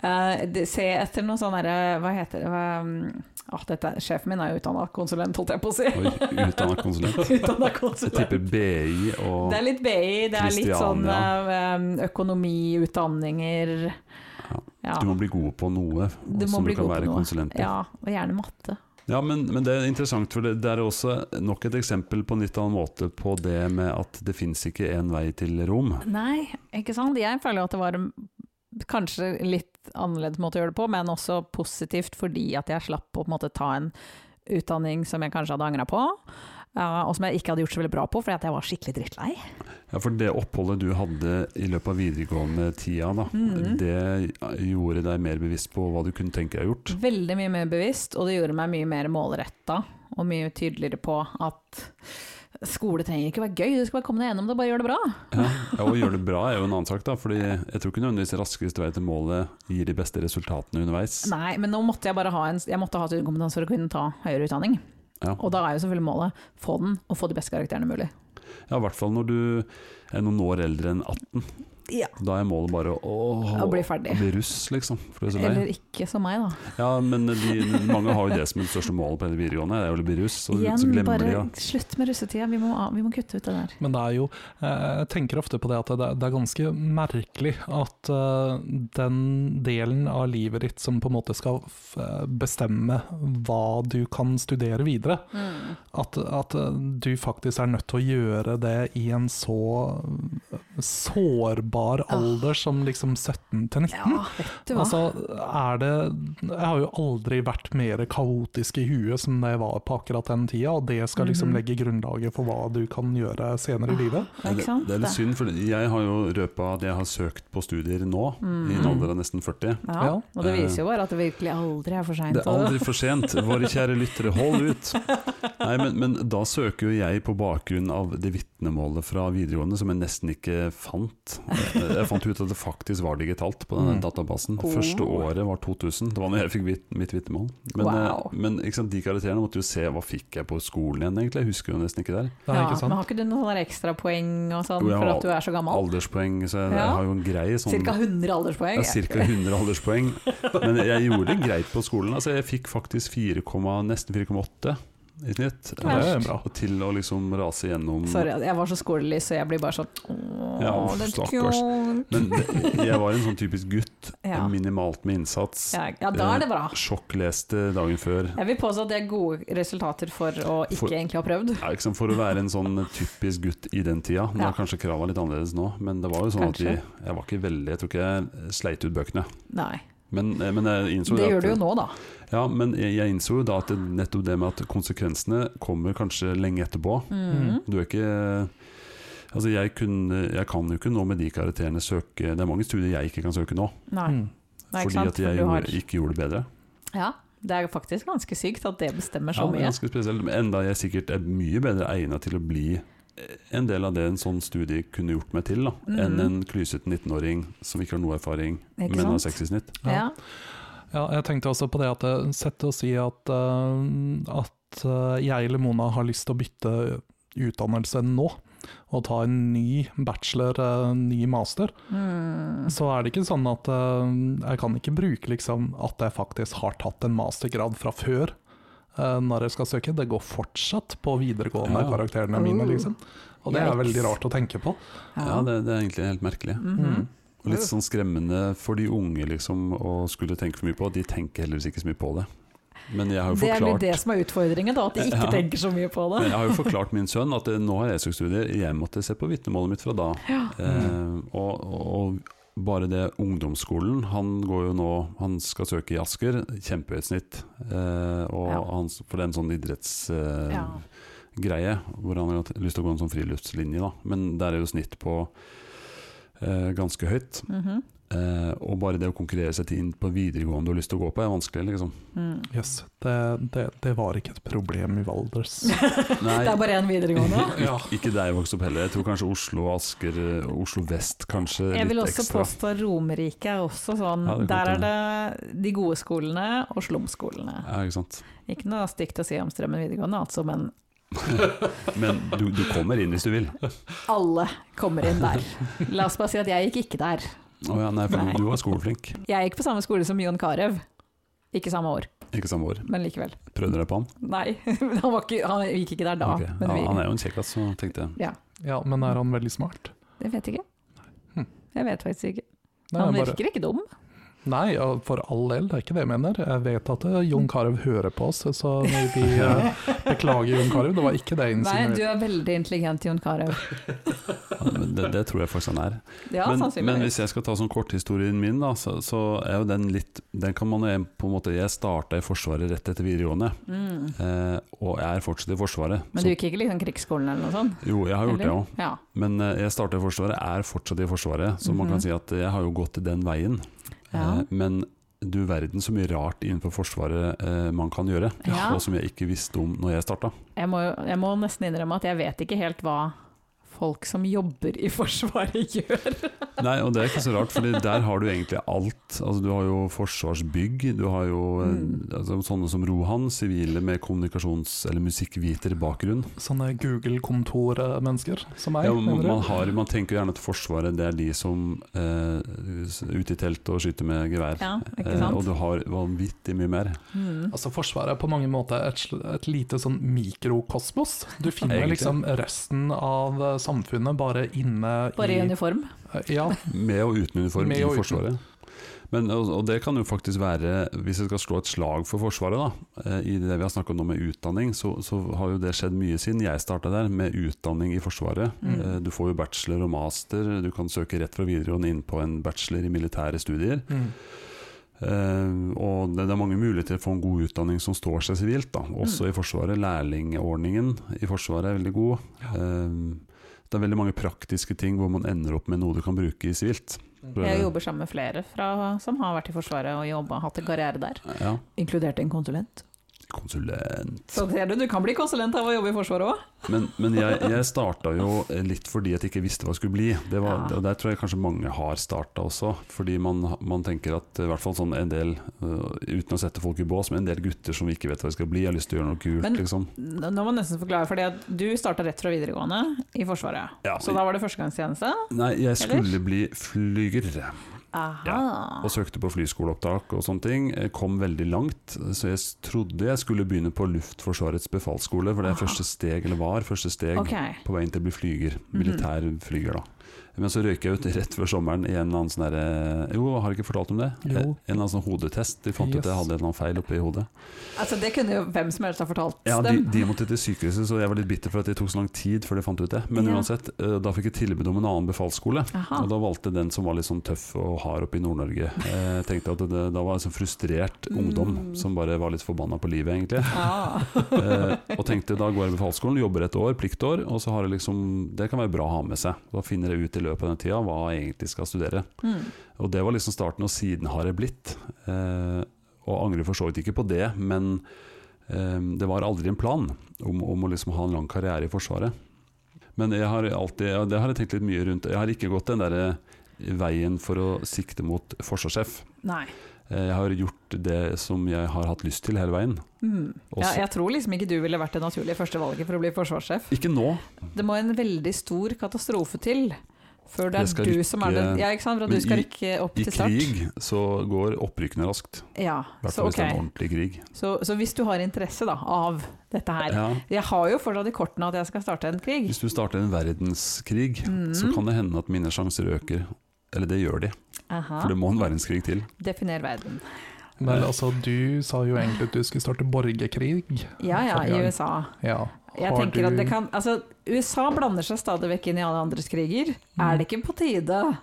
Speaker 2: Eh, det- se etter noe sånn derre Hva heter det hva, mm, ah, dette, Sjefen min er jo utdanna konsulent, holdt jeg på å si.
Speaker 1: Oi, utdannet konsulent.
Speaker 2: Utdanna
Speaker 1: Jeg
Speaker 2: konsulent.
Speaker 1: tipper BI og
Speaker 2: Det er litt BI, det er litt sånn
Speaker 1: Christiania.
Speaker 2: eh, økonomi, utdanninger Ja.
Speaker 1: Du må bli god på noe
Speaker 2: Du må
Speaker 1: som
Speaker 2: bli
Speaker 1: du kan
Speaker 2: god på
Speaker 1: være
Speaker 2: noe.
Speaker 1: konsulent på. Ja,
Speaker 2: Ja, og gjerne matte.
Speaker 1: men, men det er interessant, for det, det er også nok et eksempel på en litt annen måte på det med at det fins ikke én vei til Rom.
Speaker 2: Nei, ikke sant. Jeg føler at det var en kanskje litt annerledes måte å gjøre det på, men også positivt fordi at jeg slapp å på en måte ta en utdanning som jeg kanskje hadde angra på, eh, og som jeg ikke hadde gjort så veldig bra på fordi at jeg var skikkelig drittlei.
Speaker 1: Ja, For det oppholdet du hadde i løpet av videregående tida, da,
Speaker 2: Mhm.
Speaker 1: det gjorde deg mer bevisst på hva du kunne tenke deg gjort.
Speaker 2: Veldig mye mer bevisst, og det gjorde meg mye mer målretta og mye tydeligere på at skole trenger ikke være gøy, du skal bare komme deg gjennom det, bare gjør det bra.
Speaker 1: Ja, ja, og gjøre det bra er jo en annen sak, da. Fordi jeg tror ikke nødvendigvis raskest vei til målet gir de beste resultatene underveis.
Speaker 2: Nei, men nå måtte jeg bare ha en Jeg måtte ha studiekompetanse for å kunne ta høyere utdanning.
Speaker 1: Ja.
Speaker 2: Og da er jo selvfølgelig målet få den, og få de beste karakterene mulig.
Speaker 1: Ja, i hvert fall når du er noen år eldre enn 18.
Speaker 2: Ja.
Speaker 1: Da er målet bare å
Speaker 2: Og bli ferdig.
Speaker 1: Å bli russ, liksom. For det er så lei.
Speaker 2: Eller ikke som meg, da.
Speaker 1: Ja, men de, mange har jo det som det største målet på hele videregående, det er jo å bli russ. Og så
Speaker 2: Igjen,
Speaker 1: glemmer
Speaker 2: bare
Speaker 1: de ja.
Speaker 2: slutt med russetida. Vi må, av- vi må kutte ut det der.
Speaker 3: Men det er jo, eh, jeg tenker ofte på det at det, det er ganske merkelig at eh, den delen av livet ditt som på en måte skal f eh, bestemme hva du kan studere videre,
Speaker 2: Mm.
Speaker 3: at, at eh, du faktisk er nødt til å gjøre det i en så sårbar alder som liksom 17 til 19.
Speaker 2: Ja, vet du hva.
Speaker 3: Altså, er det Jeg har jo aldri vært mer kaotisk i huet som det var på akkurat den tida, og det skal liksom
Speaker 2: Mhm.
Speaker 3: legge grunnlaget for hva du kan gjøre senere i livet.
Speaker 2: Ja,
Speaker 1: det,
Speaker 2: ikke sant?
Speaker 1: det er litt synd, for jeg har jo røpa at jeg har søkt på studier nå,
Speaker 2: Mm.
Speaker 1: i en alder av nesten 40.
Speaker 2: Ja,
Speaker 3: Ja.
Speaker 2: og det viser jo bare at det virkelig aldri er for seint.
Speaker 1: Det er aldri for sent, våre kjære lyttere, hold ut! Nei, men, men da søker jo jeg på bakgrunn av det vitnemålet fra videregående som jeg nesten ikke fant. Jeg fant ut at det faktisk var digitalt på denne
Speaker 3: Mm.
Speaker 1: databasen.
Speaker 2: Oh.
Speaker 1: Første året var 2000, det var når jeg fikk vit- mitt vitnemål. Men,
Speaker 2: Wow.
Speaker 1: eh, men ikke sant, de karakterene måtte jo se hva fikk jeg på skolen igjen, egentlig. Jeg husker jo nesten ikke der.
Speaker 3: Det er ikke
Speaker 2: Men
Speaker 3: sant?
Speaker 2: har ikke du noen sånne ekstrapoeng og sånn
Speaker 1: Jo, jeg
Speaker 2: for
Speaker 1: har
Speaker 2: at du er så gammel?
Speaker 1: Alderspoeng, så jeg, jeg
Speaker 2: Ja.
Speaker 1: har jo en grei sånn
Speaker 2: Cirka 100 alderspoeng?
Speaker 1: Ja, cirka 100 alderspoeng. Men jeg gjorde det greit på skolen. Altså, jeg fikk faktisk 4, nesten 4,8 i snitt. Eh,
Speaker 2: Ikke verst.
Speaker 3: Det er bra.
Speaker 1: Og til å liksom rase gjennom
Speaker 2: Sorry, jeg var så skolelys, så jeg blir bare sånn Åh,
Speaker 1: Ja,
Speaker 2: det er
Speaker 1: stakkars.
Speaker 2: kult.
Speaker 1: Men det- jeg var en sånn typisk gutt.
Speaker 2: Ja.
Speaker 1: Minimalt med innsats.
Speaker 2: Ja, ja, da er det bra.
Speaker 1: Sjokkleste dagen før.
Speaker 2: Jeg vil påstå at det er gode resultater for å ikke
Speaker 1: For-
Speaker 2: egentlig ha prøvd.
Speaker 1: Ja, ikke sant? For å være en sånn typisk gutt i den tida. Nå
Speaker 2: Ja.
Speaker 1: er kanskje krava litt annerledes nå, men det var jo sånn at vi,
Speaker 2: Kanskje.
Speaker 1: jeg var ikke veldig Jeg tror ikke jeg sleit ut bøkene.
Speaker 2: Nei.
Speaker 1: Men, eh, men jeg innså
Speaker 2: Det
Speaker 1: at-
Speaker 2: gjør du jo nå, da.
Speaker 1: Ja, men jeg, jeg innså jo da at det, nettopp det med at konsekvensene kommer kanskje lenge etterpå.
Speaker 2: Mhm.
Speaker 1: Du er ikke Altså, jeg, kunne, jeg kan jo ikke nå med de karakterene søke Det er mange studier jeg ikke kan søke nå,
Speaker 2: Nei.
Speaker 3: Mm.
Speaker 2: Nei, ikke
Speaker 1: fordi
Speaker 2: sant?
Speaker 1: at jeg
Speaker 2: For du
Speaker 1: gjorde,
Speaker 2: har...
Speaker 1: ikke gjorde det bedre.
Speaker 2: Ja, det er faktisk ganske sykt at det bestemmer
Speaker 1: Ja,
Speaker 2: så
Speaker 1: det er
Speaker 2: mye.
Speaker 1: ganske spesielt. men Enda jeg sikkert er mye bedre egnet til å bli en del av det en sånn studie kunne gjort meg til, da, enn
Speaker 2: Mhm.
Speaker 1: en klysete 19-åring som ikke har noe erfaring,
Speaker 2: Ikke
Speaker 1: men har
Speaker 2: sant?
Speaker 1: 60 i snitt.
Speaker 3: Ja.
Speaker 2: Ja.
Speaker 3: Ja, jeg tenkte også på det at eh, Sett å si at, eh, at eh, jeg eller Mona har lyst til å bytte utdannelse nå, og ta en ny bachelor, eh, ny master,
Speaker 2: Mm.
Speaker 3: så er det ikke sånn at eh, jeg kan ikke bruke liksom, at jeg faktisk har tatt en mastergrad fra før. eh, Når jeg skal søke. Det går fortsatt på videregående
Speaker 1: Ja.
Speaker 3: karakterene mine,
Speaker 2: Oh.
Speaker 3: liksom. Og det er
Speaker 2: Yikes.
Speaker 3: veldig rart å tenke på. Mm.
Speaker 1: Ja, det, det er egentlig helt merkelig.
Speaker 2: Mhm.
Speaker 1: Og litt sånn skremmende for de unge liksom, å skulle tenke for mye på. De tenker heldigvis ikke så mye på det. Men jeg har jo
Speaker 2: Det er litt
Speaker 1: forklart,
Speaker 2: det som er utfordringen, da, at de ikke
Speaker 1: Ja.
Speaker 2: tenker så mye på det.
Speaker 1: men jeg har jo forklart min sønn at eh, nå har jeg søkt studier, jeg måtte se på vitnemålet mitt fra da. Eh, og, og bare det ungdomsskolen, han går jo nå, han skal søke i Asker, kjempehøyt snitt. Eh, og
Speaker 2: Ja.
Speaker 1: han, for det er en sånn idrettsgreie, eh,
Speaker 2: Ja.
Speaker 1: greie, hvor han har hatt lyst til å gå en sånn friluftslinje da. Men der er jo snitt på eh, ganske høyt.
Speaker 2: Mhm.
Speaker 1: Eh, og bare det å konkurrere seg til inn på videregående du har lyst til å gå på, er vanskelig, liksom.
Speaker 2: Mm.
Speaker 3: Jøss, det, det, det var ikke et problem i Valdres.
Speaker 1: Nei.
Speaker 2: Det er bare én videregående.
Speaker 3: Ja.
Speaker 1: Ik ikke der jeg vokste opp heller. Jeg tror kanskje Oslo og Asker, eh, Oslo vest kanskje
Speaker 2: Jeg vil
Speaker 1: litt
Speaker 2: også
Speaker 1: ekstra.
Speaker 2: påstå Romerike er også sånn.
Speaker 1: Ja, det kan
Speaker 2: Der er
Speaker 1: godt
Speaker 2: det de gode skolene og slumskolene.
Speaker 1: Ja, ikke sant.
Speaker 2: Ikke noe stygt å si om Strømmen videregående, altså, men
Speaker 1: Men du, du kommer inn hvis du vil.
Speaker 2: alle kommer inn der. La oss bare si at jeg gikk ikke der.
Speaker 1: Å ja, nei, for
Speaker 2: Nei.
Speaker 1: du var skoleflink.
Speaker 2: Jeg gikk på samme skole som Jon Carew. Ikke samme år,
Speaker 1: Ikke samme år.
Speaker 2: men likevel.
Speaker 1: Prøvde deg på han?
Speaker 2: Nei, han, var ikke, han gikk ikke der da.
Speaker 1: Ok.
Speaker 2: Men
Speaker 1: ja, han
Speaker 2: vi,
Speaker 1: er jo en kjekkas, så tenkte jeg.
Speaker 3: ja, men er han veldig smart?
Speaker 2: jeg vet ikke.
Speaker 3: Hm.
Speaker 2: Jeg vet faktisk ikke.
Speaker 3: Nei,
Speaker 2: Han
Speaker 3: jeg bare-
Speaker 2: virker ikke dum.
Speaker 3: Nei, ja, for all del, det er ikke det jeg mener. Jeg vet at eh, Jon Carew hører på oss, så vi eh, beklager Jon Carew. Det var ikke det jeg
Speaker 2: Nei, du
Speaker 3: insinuerte.
Speaker 2: er veldig intelligent, Jon Carew.
Speaker 1: Ja, men Det, det tror jeg faktisk han er.
Speaker 2: Ja,
Speaker 1: men, men
Speaker 2: sannsynligvis.
Speaker 1: hvis jeg skal ta sånn korthistorien min, da, så, så er jo den litt Den kan man jo på en måte Jeg starta i Forsvaret rett etter videregående,
Speaker 2: Mm.
Speaker 1: eh, og jeg er fortsatt i Forsvaret.
Speaker 2: Men du gikk ikke liksom krigsskolen eller noe sånt?
Speaker 1: så, jo, jeg har gjort det
Speaker 2: eller?
Speaker 1: òg.
Speaker 2: Ja.
Speaker 1: Men eh, jeg starta i Forsvaret, er fortsatt i Forsvaret, så man
Speaker 2: Mhm.
Speaker 1: kan si at eh, jeg har jo gått den veien.
Speaker 2: Ja.
Speaker 1: Eh, men du verden så mye rart innenfor Forsvaret eh, man kan gjøre,
Speaker 2: Ja.
Speaker 1: og som jeg ikke visste om når jeg starta.
Speaker 2: Jeg må, jo- jeg må nesten innrømme at jeg vet ikke helt hva folk som jobber i Forsvaret gjør.
Speaker 1: Nei, og det er ikke så rart, for der har du egentlig alt. Altså, du har jo forsvarsbygg, du har jo eh,
Speaker 2: Mm.
Speaker 1: altså, sånne som Rohan, sivile med kommunikasjons- eller musikkviterbakgrunn.
Speaker 3: Sånne Google-kontormennesker som meg,
Speaker 1: Ja, man,
Speaker 3: mener
Speaker 1: man,
Speaker 3: du?
Speaker 1: har, man tenker jo gjerne at Forsvaret det er de som eh, s- ute i telt og skyter med gevær.
Speaker 2: Ja, ikke
Speaker 1: Eh, og
Speaker 2: sant?
Speaker 1: du har vanvittig mye mer.
Speaker 2: Mm.
Speaker 3: Altså, Forsvaret er på mange måter et, sl- et lite sånn mikrokosmos. Du finner
Speaker 1: Egentlig.
Speaker 3: liksom resten av eh, samfunnet bare inne
Speaker 2: Bare i
Speaker 3: i Eh,
Speaker 2: uniform.
Speaker 3: Ja,
Speaker 1: Med og uten uniform
Speaker 3: Med
Speaker 1: i
Speaker 3: og uten.
Speaker 1: Forsvaret. Men, og, og det kan jo faktisk være, hvis jeg skal slå et slag for Forsvaret, da, eh, i det vi har snakket om nå med utdanning, så, så har jo det skjedd mye siden jeg starta der, med utdanning i Forsvaret.
Speaker 2: Mm.
Speaker 1: Eh, Du får jo bachelor og master, du kan søke rett fra videregående inn på en bachelor i militære studier.
Speaker 3: mm.
Speaker 1: Eh, og det, det er mange muligheter for en god utdanning som står seg sivilt, da.
Speaker 2: Mm.
Speaker 1: også i Forsvaret. Lærlingordningen i Forsvaret er veldig god. Eh, det er veldig mange praktiske ting hvor man ender opp med noe du kan bruke i sivilt.
Speaker 2: Jeg jobber sammen med flere fra, som har vært i Forsvaret og jobba, hatt en karriere der.
Speaker 1: Ja,
Speaker 2: Inkludert en konsulent.
Speaker 1: konsulent
Speaker 2: Så ser du, du kan bli konsulent av å jobbe i Forsvaret òg.
Speaker 1: Men, men jeg, jeg starta jo litt fordi at jeg ikke visste hva jeg skulle bli. Det var,
Speaker 2: Ja.
Speaker 1: Og der tror jeg kanskje mange har starta også. Fordi man, man tenker at i hvert fall sånn en del, øh, uten å sette folk i bås, men en del gutter som ikke vet hva de skal bli, har lyst til å gjøre noe kult,
Speaker 2: Men-
Speaker 1: liksom.
Speaker 2: Nå nå må jeg nesten forklare, fordi at du starta rett fra videregående i Forsvaret.
Speaker 1: Ja,
Speaker 2: Så da var det førstegangstjeneste?
Speaker 1: nei, jeg
Speaker 2: Eller?
Speaker 1: skulle bli flyger,
Speaker 2: Aha.
Speaker 1: og søkte på flyskoleopptak og sånne ting. Jeg kom veldig langt, så jeg s- trodde jeg skulle begynne på Luftforsvarets befalsskole, for det er
Speaker 2: Aha.
Speaker 1: første steg, eller var første steg,
Speaker 2: Ah. Ok. Mhm.
Speaker 1: på veien til å bli flyger, militær flyger da. Men så røyker jeg ut rett før sommeren i en eller annen sånn derre Jo, har jeg ikke fortalt om det?
Speaker 3: Jo.
Speaker 1: En eller annen sånn hodetest. De fant ut at jeg
Speaker 3: Yes.
Speaker 1: hadde en eller annen feil oppe i hodet.
Speaker 2: Altså, det kunne jo hvem som helst ha fortalt
Speaker 1: Ja, de,
Speaker 2: dem.
Speaker 1: de måtte til sykehuset, så jeg var litt bitter for at det tok så lang tid før de fant ut det. Men
Speaker 2: Ja.
Speaker 1: uansett, eh, da fikk jeg tilbud om en annen befalsskole.
Speaker 2: Aha.
Speaker 1: Og da valgte den som var litt sånn tøff og hard oppe i Nord-Norge. Eh, tenkte at det, Da var jeg sånn frustrert ungdom
Speaker 2: Mm.
Speaker 1: som bare var litt forbanna på livet, egentlig.
Speaker 2: Ah.
Speaker 1: Eh, og tenkte da går jeg i befalsskolen, jobber et år, pliktår, og så har jeg liksom Det kan være bra å ha med seg. Da finner jeg ut i løpet av den tida hva jeg egentlig skal studere.
Speaker 2: Mm.
Speaker 1: Og det var liksom starten, og siden har jeg blitt. Eh, og angrer for så vidt ikke på det, men eh, det var aldri en plan om, om å liksom ha en lang karriere i Forsvaret. Men jeg har alltid, ja, det har jeg tenkt litt mye rundt. Jeg har ikke gått den derre veien for å sikte mot forsvarssjef.
Speaker 2: Nei.
Speaker 1: Eh, Jeg har gjort det som jeg har hatt lyst til hele veien.
Speaker 2: Mm.
Speaker 1: Og
Speaker 2: Ja,
Speaker 1: så-
Speaker 2: jeg tror liksom ikke du ville vært det naturlige førstevalget for å bli forsvarssjef.
Speaker 1: Ikke nå,
Speaker 2: Det må en veldig stor katastrofe til før det
Speaker 1: Jeg skal
Speaker 2: er du som er
Speaker 1: rykke-
Speaker 2: den Ja, ikke sant, for at
Speaker 1: Men
Speaker 2: du skal
Speaker 1: i-
Speaker 2: rykke opp
Speaker 1: I
Speaker 2: til start.
Speaker 1: krig så går opprykkene raskt.
Speaker 2: Ja,
Speaker 1: I hvert
Speaker 2: så,
Speaker 1: fall hvis
Speaker 2: ok.
Speaker 1: det er en ordentlig krig.
Speaker 2: så, så hvis du har interesse da, av dette her
Speaker 1: Ja,
Speaker 2: Jeg har jo fortsatt i kortene at jeg skal starte en krig.
Speaker 1: hvis du starter en verdenskrig,
Speaker 2: Mm.
Speaker 1: så kan det hende at mine sjanser øker. Eller det gjør de,
Speaker 2: Aha.
Speaker 1: for det må en verdenskrig til.
Speaker 2: Definer verden.
Speaker 3: Men altså, du sa jo egentlig at du skulle starte borgerkrig.
Speaker 2: Ja ja, i
Speaker 3: Forrige gang.
Speaker 2: USA.
Speaker 3: Ja.
Speaker 2: Jeg
Speaker 3: Har
Speaker 2: tenker at
Speaker 3: du-
Speaker 2: det kan Altså, USA blander seg stadig vekk inn i alle andres kriger.
Speaker 1: Mm.
Speaker 2: Er det ikke på tide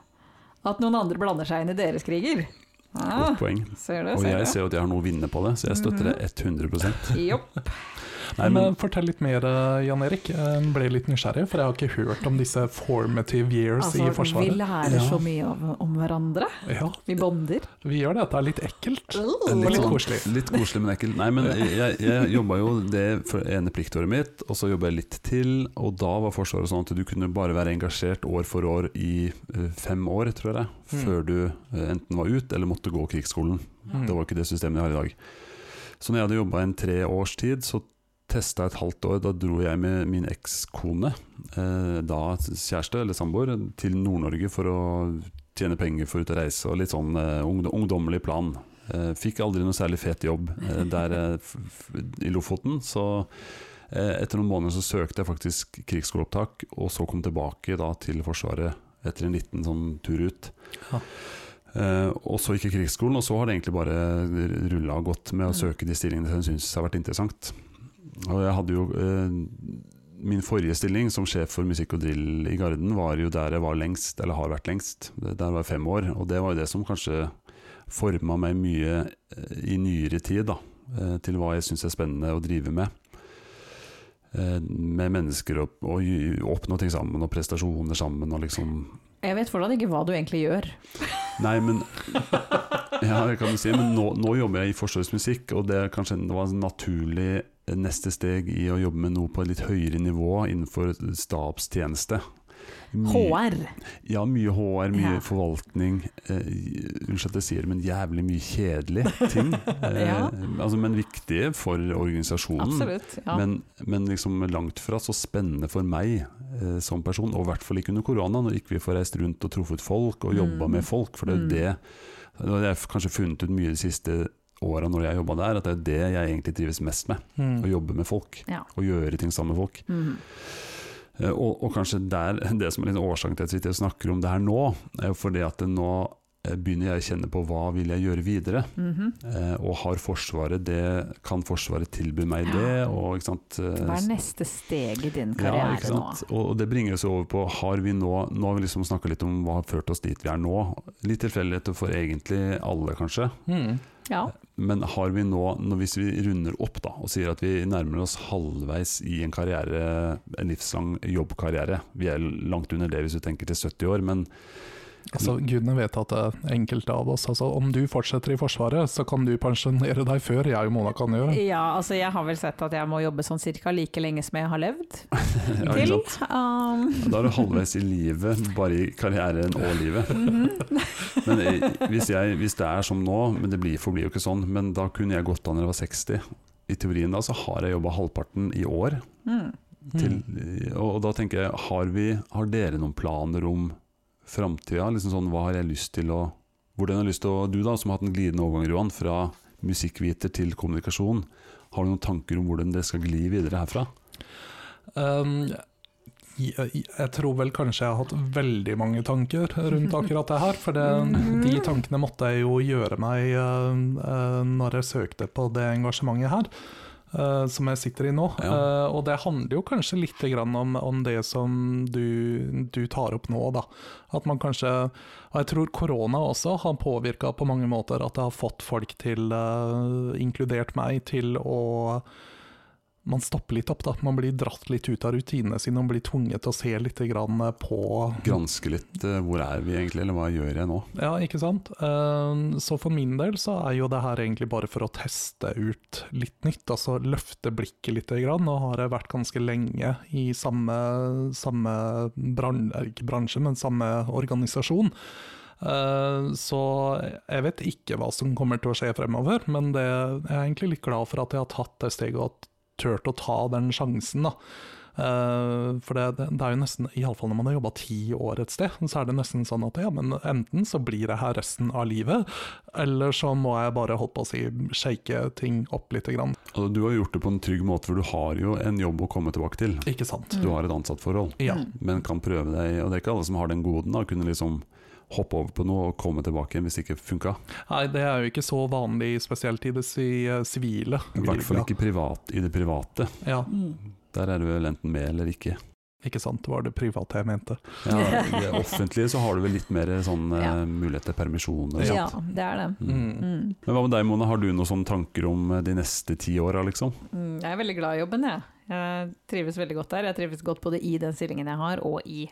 Speaker 2: at noen andre blander seg inn i deres kriger? Ja,
Speaker 1: Godt poeng.
Speaker 2: ser du,
Speaker 1: Og
Speaker 2: Ah. ser
Speaker 1: jeg
Speaker 2: du.
Speaker 1: ser jo at jeg har noe å vinne på det, så jeg støtter det 100
Speaker 2: Jopp.
Speaker 1: Nei,
Speaker 3: men,
Speaker 1: men
Speaker 3: eh, fortell litt mer, eh, Jan Erik. Jeg ble litt nysgjerrig, for jeg har ikke hørt om disse formative years
Speaker 2: Altså,
Speaker 3: i
Speaker 2: vi
Speaker 3: Forsvaret.
Speaker 2: lærer så mye om, om hverandre.
Speaker 3: Ja,
Speaker 2: Vi bonder.
Speaker 3: vi gjør det. Det er litt ekkelt.
Speaker 1: Det er
Speaker 3: Og
Speaker 1: litt,
Speaker 3: litt
Speaker 1: sånn,
Speaker 3: koselig.
Speaker 1: litt koselig, men ekkelt. Nei, men jeg, jeg jobba jo det for ene pliktåret mitt, og så jobba jeg litt til, og da var Forsvaret sånn at du kunne bare være engasjert år for år i eh, fem år, tror jeg,
Speaker 3: Mm.
Speaker 1: før du eh, enten var ut eller måtte gå krigsskolen.
Speaker 3: Mm.
Speaker 1: Det var ikke det systemet de har i dag. Så når jeg hadde jobba en tre års tid, så testa jeg et halvt år. Da dro jeg med min ekskone, eh, da kjæreste eller samboer, til Nord-Norge for å tjene penger for ut å reise, og litt sånn eh, ungd- ungdommelig plan. Eh, fikk aldri noe særlig fet jobb eh, der eh, f f i Lofoten, så eh, etter noen måneder så søkte jeg faktisk krigsskoleopptak, og så kom tilbake da til Forsvaret etter en liten sånn tur ut.
Speaker 3: Ja.
Speaker 1: Eh, og så gikk jeg krigsskolen, og så har det egentlig bare rulla og gått med å
Speaker 2: Mm.
Speaker 1: søke de stillingene som jeg syns har vært interessant. Og jeg hadde jo eh, Min forrige stilling som sjef for musikk og drill i Garden var jo der jeg var lengst, eller har vært lengst. Det- Der var jeg fem år, og det var jo det som kanskje forma meg mye eh, i nyere tid, da. eh, Til hva jeg syns er spennende å drive med. Eh, Med mennesker og, og gi- oppnå ting sammen, og prestasjoner sammen, og liksom
Speaker 2: Jeg vet fortsatt ikke hva du egentlig gjør.
Speaker 1: Nei, men Ja, det kan du si. Men nå, nå jobber jeg i Forsvarets musikk, og det er kanskje det var en naturlig eh, neste steg i å jobbe med noe på et litt høyere nivå innenfor stabstjeneste. Mye-
Speaker 2: HR.
Speaker 1: Ja, mye HR, mye
Speaker 2: Ja.
Speaker 1: forvaltning. Eh, unnskyld at jeg sier det, men jævlig mye kjedelige ting. Eh,
Speaker 2: Ja.
Speaker 1: altså, men viktige for organisasjonen.
Speaker 2: Absolutt. Ja.
Speaker 1: Mm. Men, men liksom langt fra så spennende for meg eh, som person, og i hvert fall ikke under korona, når ikke vi får reist rundt og truffet folk og jobba
Speaker 2: Mm.
Speaker 1: med folk. For det er jo
Speaker 2: Mm.
Speaker 1: det det har jeg kanskje funnet ut mye de siste åra når jeg har jobba der, at det er det jeg egentlig trives mest med. Å
Speaker 3: Mm.
Speaker 1: jobbe med folk,
Speaker 2: Ja.
Speaker 1: og gjøre ting sammen med folk.
Speaker 2: Mhm.
Speaker 1: Eh, Og, og kanskje der, det som er litt årsaken til at jeg sitter og snakker om det her nå, er jo fordi at det nå eh, begynner jeg å kjenne på hva vil jeg gjøre videre.
Speaker 2: Mhm.
Speaker 1: Eh, og har Forsvaret det, kan Forsvaret tilby meg det? Og, ikke sant, eh,
Speaker 2: Hva er neste steg i din
Speaker 1: ja,
Speaker 2: karriere
Speaker 1: ikke sant?
Speaker 2: nå?
Speaker 1: Og og det bringer oss over på har vi nå Nå har vi liksom snakka litt om hva har ført oss dit vi er nå. Litt tilfeldigheter for egentlig alle, kanskje.
Speaker 3: Mm.
Speaker 2: Ja.
Speaker 1: Men har vi nå, når, hvis vi runder opp da, og sier at vi nærmer oss halvveis i en karriere, en livslang jobbkarriere Vi er langt under det hvis du tenker til 70 år, men
Speaker 3: Altså, Gudene vet at eh, enkelte av oss altså, Om du fortsetter i Forsvaret, så kan du pensjonere deg før jeg og Mona kan gjøre.
Speaker 2: ja, altså jeg har vel sett at jeg må jobbe sånn cirka like lenge som jeg har levd.
Speaker 1: ja, ikke
Speaker 2: til.
Speaker 1: sant?
Speaker 2: Um,
Speaker 1: da er du halvveis i livet, bare i karrieren og livet.
Speaker 2: Um, mm-hmm.
Speaker 1: Men eh, hvis, jeg, hvis det er som nå, men det blir, forblir jo ikke sånn, men da kunne jeg gått da når jeg var 60. I teorien da så har jeg jobba halvparten i år.
Speaker 2: mm.
Speaker 1: Til,
Speaker 3: Mm.
Speaker 1: og, og da tenker jeg, har, vi, har dere noen planer om framtida? Liksom sånn, hva har jeg lyst til å Hvordan har jeg lyst til å Du da, som har hatt en glidende overgang, Johan, fra musikkviter til kommunikasjon. Har du noen tanker om hvordan det skal gli videre herfra?
Speaker 3: Um, jeg, jeg tror vel kanskje jeg har hatt veldig mange tanker rundt akkurat det her. For det, de tankene måtte jeg jo gjøre meg eh, eh, når jeg søkte på det engasjementet her. eh, som jeg sitter i nå.
Speaker 1: Ja.
Speaker 3: Eh, og det handler jo kanskje litt grann om, om det som du, du tar opp nå, da. At man kanskje Og jeg tror korona også har påvirka på mange måter at det har fått folk til, eh, inkludert meg, til å man stopper litt opp, da. Man blir dratt litt ut av rutinene sine og blir tvunget til å se litt grann på
Speaker 1: Granske litt eh, hvor er vi egentlig, eller hva gjør jeg nå?
Speaker 3: Ja, ikke sant? Eh, Så for min del så er jo det her egentlig bare for å teste ut litt nytt, altså løfte blikket litt. Grann. Nå har jeg vært ganske lenge i samme, samme bran- eh, ikke bransje, men samme organisasjon. Eh, Så jeg vet ikke hva som kommer til å skje fremover, men det, jeg er egentlig litt glad for at jeg har tatt det steget og at turt å ta den sjansen, da. Eh, for det, det er jo nesten, iallfall når man har jobba ti år et sted, så er det nesten sånn at ja, men enten så blir jeg her resten av livet, eller så må jeg bare holdt på å si shake ting opp lite grann.
Speaker 1: Altså, du har gjort det på en trygg måte, for du har jo en jobb å komme tilbake til.
Speaker 3: Ikke sant?
Speaker 1: Du har et ansattforhold,
Speaker 3: Ja.
Speaker 1: men kan prøve deg. Og det er ikke alle som har den goden, da, å kunne liksom hoppe over på noe og komme tilbake igjen hvis det ikke funka.
Speaker 3: Nei, det er jo ikke så vanlig, spesielt i det si, eh, sivile.
Speaker 1: I hvert fall ikke privat, i det private.
Speaker 3: Ja.
Speaker 2: Mm.
Speaker 1: Der er du vel enten med eller ikke.
Speaker 3: Ikke sant, det var det private jeg mente.
Speaker 1: Ja, I det offentlige så har du vel litt mer sånn
Speaker 2: Ja.
Speaker 1: eh, mulighet til permisjon. og
Speaker 2: Ja,
Speaker 1: sånt.
Speaker 2: det er det.
Speaker 1: Mm.
Speaker 3: Mm.
Speaker 2: Mm.
Speaker 1: Men hva med deg, Mona? Har du noen sånne tanker om eh, de neste ti åra, liksom?
Speaker 2: Mm, Jeg er veldig glad i jobben, jeg. Jeg trives veldig godt der. Jeg trives godt både i den stillingen jeg har, og i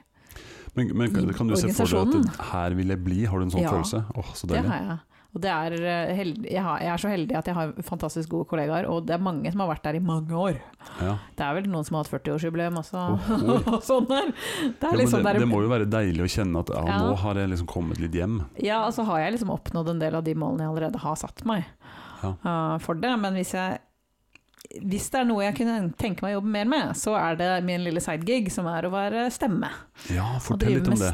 Speaker 1: Men, men kan-
Speaker 2: I
Speaker 1: kan du se for deg at
Speaker 2: organisasjonen?
Speaker 1: her vil jeg bli? Har du en sånn
Speaker 2: Ja.
Speaker 1: følelse? Åh, så
Speaker 2: Det
Speaker 1: deilig.
Speaker 2: har jeg. Og det er, eh, held- jeg, har, jeg er så heldig at jeg har fantastisk gode kollegaer, og det er mange som har vært der i mange år.
Speaker 1: Ja.
Speaker 2: Det er vel noen som har hatt 40-årsjubileum også,
Speaker 1: Oh, oh.
Speaker 2: og sånn der. Det
Speaker 1: Ja,
Speaker 2: er
Speaker 1: men
Speaker 2: liksom
Speaker 1: det,
Speaker 2: der-
Speaker 1: det må jo være deilig å kjenne at ja,
Speaker 2: Ja.
Speaker 1: nå har jeg liksom kommet litt hjem.
Speaker 2: Ja, altså har jeg liksom oppnådd en del av de målene jeg allerede har satt meg
Speaker 1: Ja.
Speaker 2: uh, for det. Men hvis jeg hvis det er noe jeg kunne tenke meg å jobbe mer med, så er det min lille sidegig, som er å være stemme.
Speaker 1: Ja,
Speaker 2: Å
Speaker 1: fortell
Speaker 2: drive
Speaker 1: litt om
Speaker 2: med
Speaker 1: det.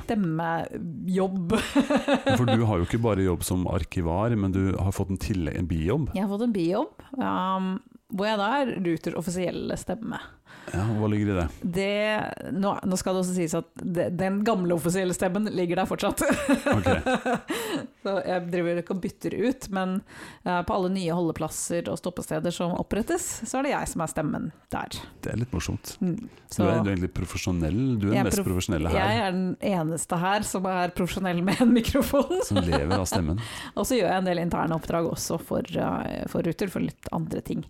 Speaker 2: stemmejobb.
Speaker 1: For du har jo ikke bare jobb som arkivar, men du har fått en, tillegg- en bijobb.
Speaker 2: Jeg har fått en bijobb, um, hvor jeg da er Ruters offisielle stemme.
Speaker 1: Ja, hva ligger i det?
Speaker 2: Det, nå, nå skal det også sies at det, den gamle offisielle stemmen ligger der fortsatt.
Speaker 1: Ok.
Speaker 2: Så jeg driver ikke og bytter ut, men eh, på alle nye holdeplasser og stoppesteder som opprettes, så er det jeg som er stemmen der.
Speaker 1: Det er litt morsomt.
Speaker 2: Mm.
Speaker 1: Du
Speaker 2: Så
Speaker 1: er, du er egentlig profesjonell. Du er
Speaker 2: Jeg
Speaker 1: den
Speaker 2: er
Speaker 1: mest
Speaker 2: prof-
Speaker 1: profesjonelle
Speaker 2: jeg
Speaker 1: her.
Speaker 2: er den eneste her som er profesjonell med en mikrofon.
Speaker 1: Som lever av stemmen.
Speaker 2: Og så gjør jeg en del interne oppdrag også for, eh, for Ruter, for litt andre ting.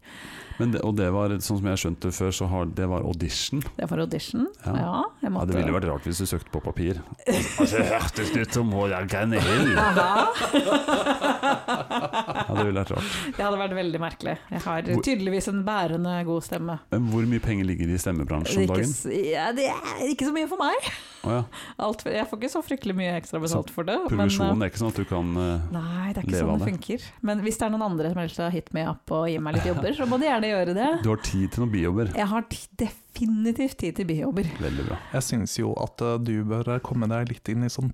Speaker 1: Men det, og det var, sånn som jeg skjønte før, så har, det var audition.
Speaker 2: Det er for audition.
Speaker 1: Ja.
Speaker 2: Ja, jeg
Speaker 1: Ja,
Speaker 2: måtte
Speaker 1: det ville vært rart hvis du søkte på papir. Altså, det hørtes ut som Håjan Grenhild! Ja, det ville vært rart.
Speaker 2: Det hadde vært veldig merkelig. Jeg har
Speaker 1: Hvor-
Speaker 2: tydeligvis en bærende god stemme.
Speaker 1: Men hvor mye penger ligger i stemmebransjen om
Speaker 2: Ikke
Speaker 1: dagen?
Speaker 2: s- ja, det er ikke så mye for meg.
Speaker 1: Å ja.
Speaker 2: Alt for, jeg får ikke så fryktelig mye ekstra betalt for det. men, eh,
Speaker 1: Provisjon er ikke sånn at du kan eh,
Speaker 2: Nei, det er ikke
Speaker 1: Leve av
Speaker 2: sånn det funker. Men hvis det er noen andre som helst har hit me up og gir meg litt jobber, så må de gjerne gjøre det.
Speaker 1: Du har tid til noen bijobber.
Speaker 2: Jeg har t- definitivt tid til bijobber.
Speaker 1: Veldig bra.
Speaker 3: Jeg syns jo at eh, du bør komme deg litt inn i sånn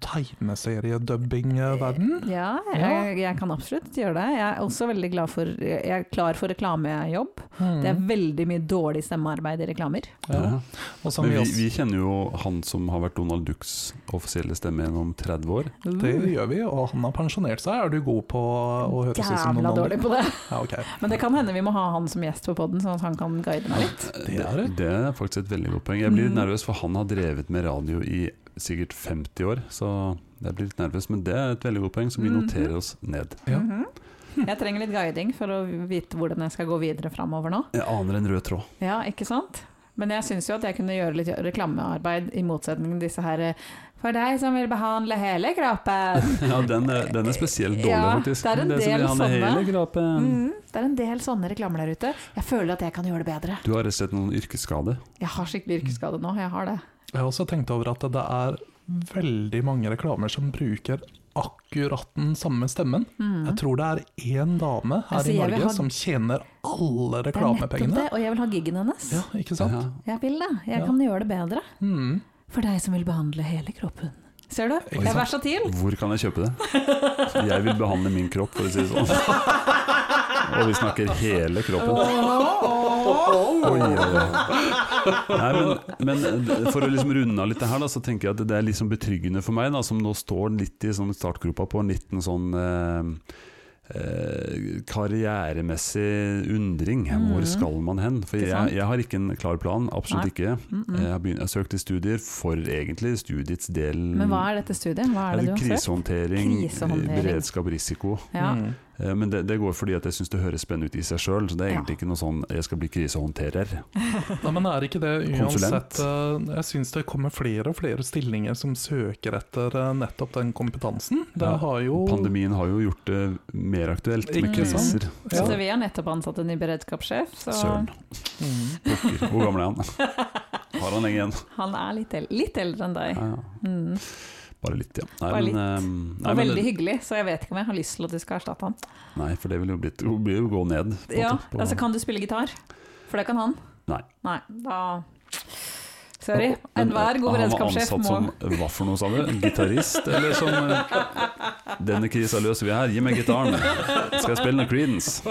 Speaker 3: eh, tegneseriedubbing-verden.
Speaker 2: Ja, jeg, jeg kan absolutt gjøre det. Jeg er også veldig glad for Jeg er klar for reklamejobb. Det er veldig mye dårlig stemmearbeid i reklamer.
Speaker 3: Ja.
Speaker 1: Ja.
Speaker 3: Og som
Speaker 1: Men
Speaker 3: vi,
Speaker 1: vi, vi
Speaker 3: også,
Speaker 1: kjenner jo han som har vært Donald Ducks offisielle stemme gjennom 30 år.
Speaker 3: det
Speaker 2: Mm.
Speaker 3: gjør vi, og han har pensjonert seg. Er du god på å høres ut som noen
Speaker 2: Uh, Jævla
Speaker 3: andre?
Speaker 2: dårlig på det.
Speaker 3: Ja, ok.
Speaker 2: Men det kan hende vi må ha han som gjest på poden, sånn at han kan guide meg litt.
Speaker 3: Det er det.
Speaker 1: Det er faktisk et veldig godt poeng. Jeg blir litt
Speaker 2: Mm.
Speaker 1: nervøs, for han har drevet med radio i sikkert 50 år. Så jeg blir litt nervøs, men det er et veldig godt poeng, så vi
Speaker 2: Mhm.
Speaker 1: noterer oss ned.
Speaker 3: Ja.
Speaker 2: Mhm. Jeg trenger litt guiding for å vite hvordan jeg skal gå videre framover nå.
Speaker 1: Jeg aner en rød tråd.
Speaker 2: Ja, ikke sant? Men jeg syns jo at jeg kunne gjøre litt reklamearbeid, i motsetning til disse her eh, For deg som vil behandle hele kroppen.
Speaker 1: Ja, den er, den er spesielt dårlig,
Speaker 2: Ja,
Speaker 1: faktisk.
Speaker 2: det
Speaker 1: som
Speaker 2: er en del
Speaker 1: vil ha den
Speaker 2: sånne.
Speaker 1: hele kroppen.
Speaker 2: Mhm. Det er en del sånne reklamer der ute. Jeg føler at jeg kan gjøre det bedre.
Speaker 1: Du har rett og slett noen yrkesskade.
Speaker 2: Jeg har skikkelig yrkesskade nå, jeg har det.
Speaker 3: Jeg har også tenkt over at det er veldig mange reklamer som bruker akkurat den samme stemmen.
Speaker 2: Mhm.
Speaker 3: Jeg tror det er én dame her
Speaker 2: Altså,
Speaker 3: i
Speaker 2: jeg vil
Speaker 3: Norge
Speaker 2: ha-
Speaker 3: som tjener alle
Speaker 2: Det er nettopp
Speaker 3: reklamepengene.
Speaker 2: det, og jeg vil ha giggen hennes.
Speaker 3: Ja, ikke sant?
Speaker 1: Ja.
Speaker 2: Jeg vil det. Jeg
Speaker 3: Ja.
Speaker 2: kan gjøre det bedre.
Speaker 3: Mm.
Speaker 2: For deg som vil behandle hele kroppen. Ser du? Jeg
Speaker 3: Ikke
Speaker 2: er
Speaker 3: sant?
Speaker 2: versatil.
Speaker 1: Hvor kan jeg kjøpe det? Jeg vil behandle min kropp, for å si det sånn. Og vi snakker hele kroppen. Oi, oi, oi. Nei, men, men for å liksom runde av litt det her, da, så tenker jeg at det er liksom betryggende for meg, da, som nå står litt i sånn startgropa på en liten sånn eh, eh, karrieremessig undring. Hvor skal man hen? For
Speaker 2: Mm. Ikke
Speaker 1: jeg,
Speaker 2: sant?
Speaker 1: jeg har ikke en klar plan, absolutt
Speaker 2: Nei.
Speaker 1: ikke.
Speaker 2: Mm
Speaker 1: Jeg
Speaker 2: -mm.
Speaker 1: har, begynt, jeg har søkt til studier for egentlig studiets del.
Speaker 3: mm.
Speaker 2: Men hva er dette studiet? Hva er det du har søkt?
Speaker 1: krisehåndtering,
Speaker 2: Krisehåndtering.
Speaker 1: beredskap, risiko.
Speaker 2: Ja.
Speaker 3: Mm.
Speaker 1: Eh, Men det, det går fordi at jeg syns det høres spennende ut i seg sjøl. Så det er egentlig ikke noe sånn 'jeg skal bli krisehåndterer'.
Speaker 3: Nei, men er ikke det
Speaker 1: Konsulent.
Speaker 3: uansett eh, Jeg syns det kommer flere og flere stillinger som søker etter eh, nettopp den kompetansen. Det
Speaker 1: Ja,
Speaker 3: har jo
Speaker 1: Pandemien har jo gjort det mer aktuelt med
Speaker 3: Ikke sant?
Speaker 1: kriser.
Speaker 3: Ja.
Speaker 2: Så vi har nettopp ansatt en ny beredskapssjef, så
Speaker 1: Søren.
Speaker 3: Mm.
Speaker 1: Pokker. Hvor gammel er han? Har han lenge igjen?
Speaker 2: han er litt, el litt eldre enn deg.
Speaker 1: Ja, ja.
Speaker 2: Mm.
Speaker 1: bare litt, ja. Nei,
Speaker 2: Bare litt.
Speaker 1: ehm, nei,
Speaker 2: Og
Speaker 1: men-
Speaker 2: veldig hyggelig, så jeg vet ikke om jeg har lyst til at du skal erstatte han.
Speaker 1: nei, for det vil jo blitt, hun blir jo gå ned. på en
Speaker 2: Ja,
Speaker 1: måte, på-
Speaker 2: altså Kan du spille gitar? For det kan han.
Speaker 1: Nei.
Speaker 2: Nei, da Sorry.
Speaker 1: Men, eh,
Speaker 2: Enhver god
Speaker 1: han var
Speaker 2: beredskapssjef
Speaker 1: ansatt som
Speaker 2: må
Speaker 1: hva for noe, sa du? Gitarist, eller som eh, Denne krisa løser vi her, gi meg gitaren. Skal jeg spille noe Creedence?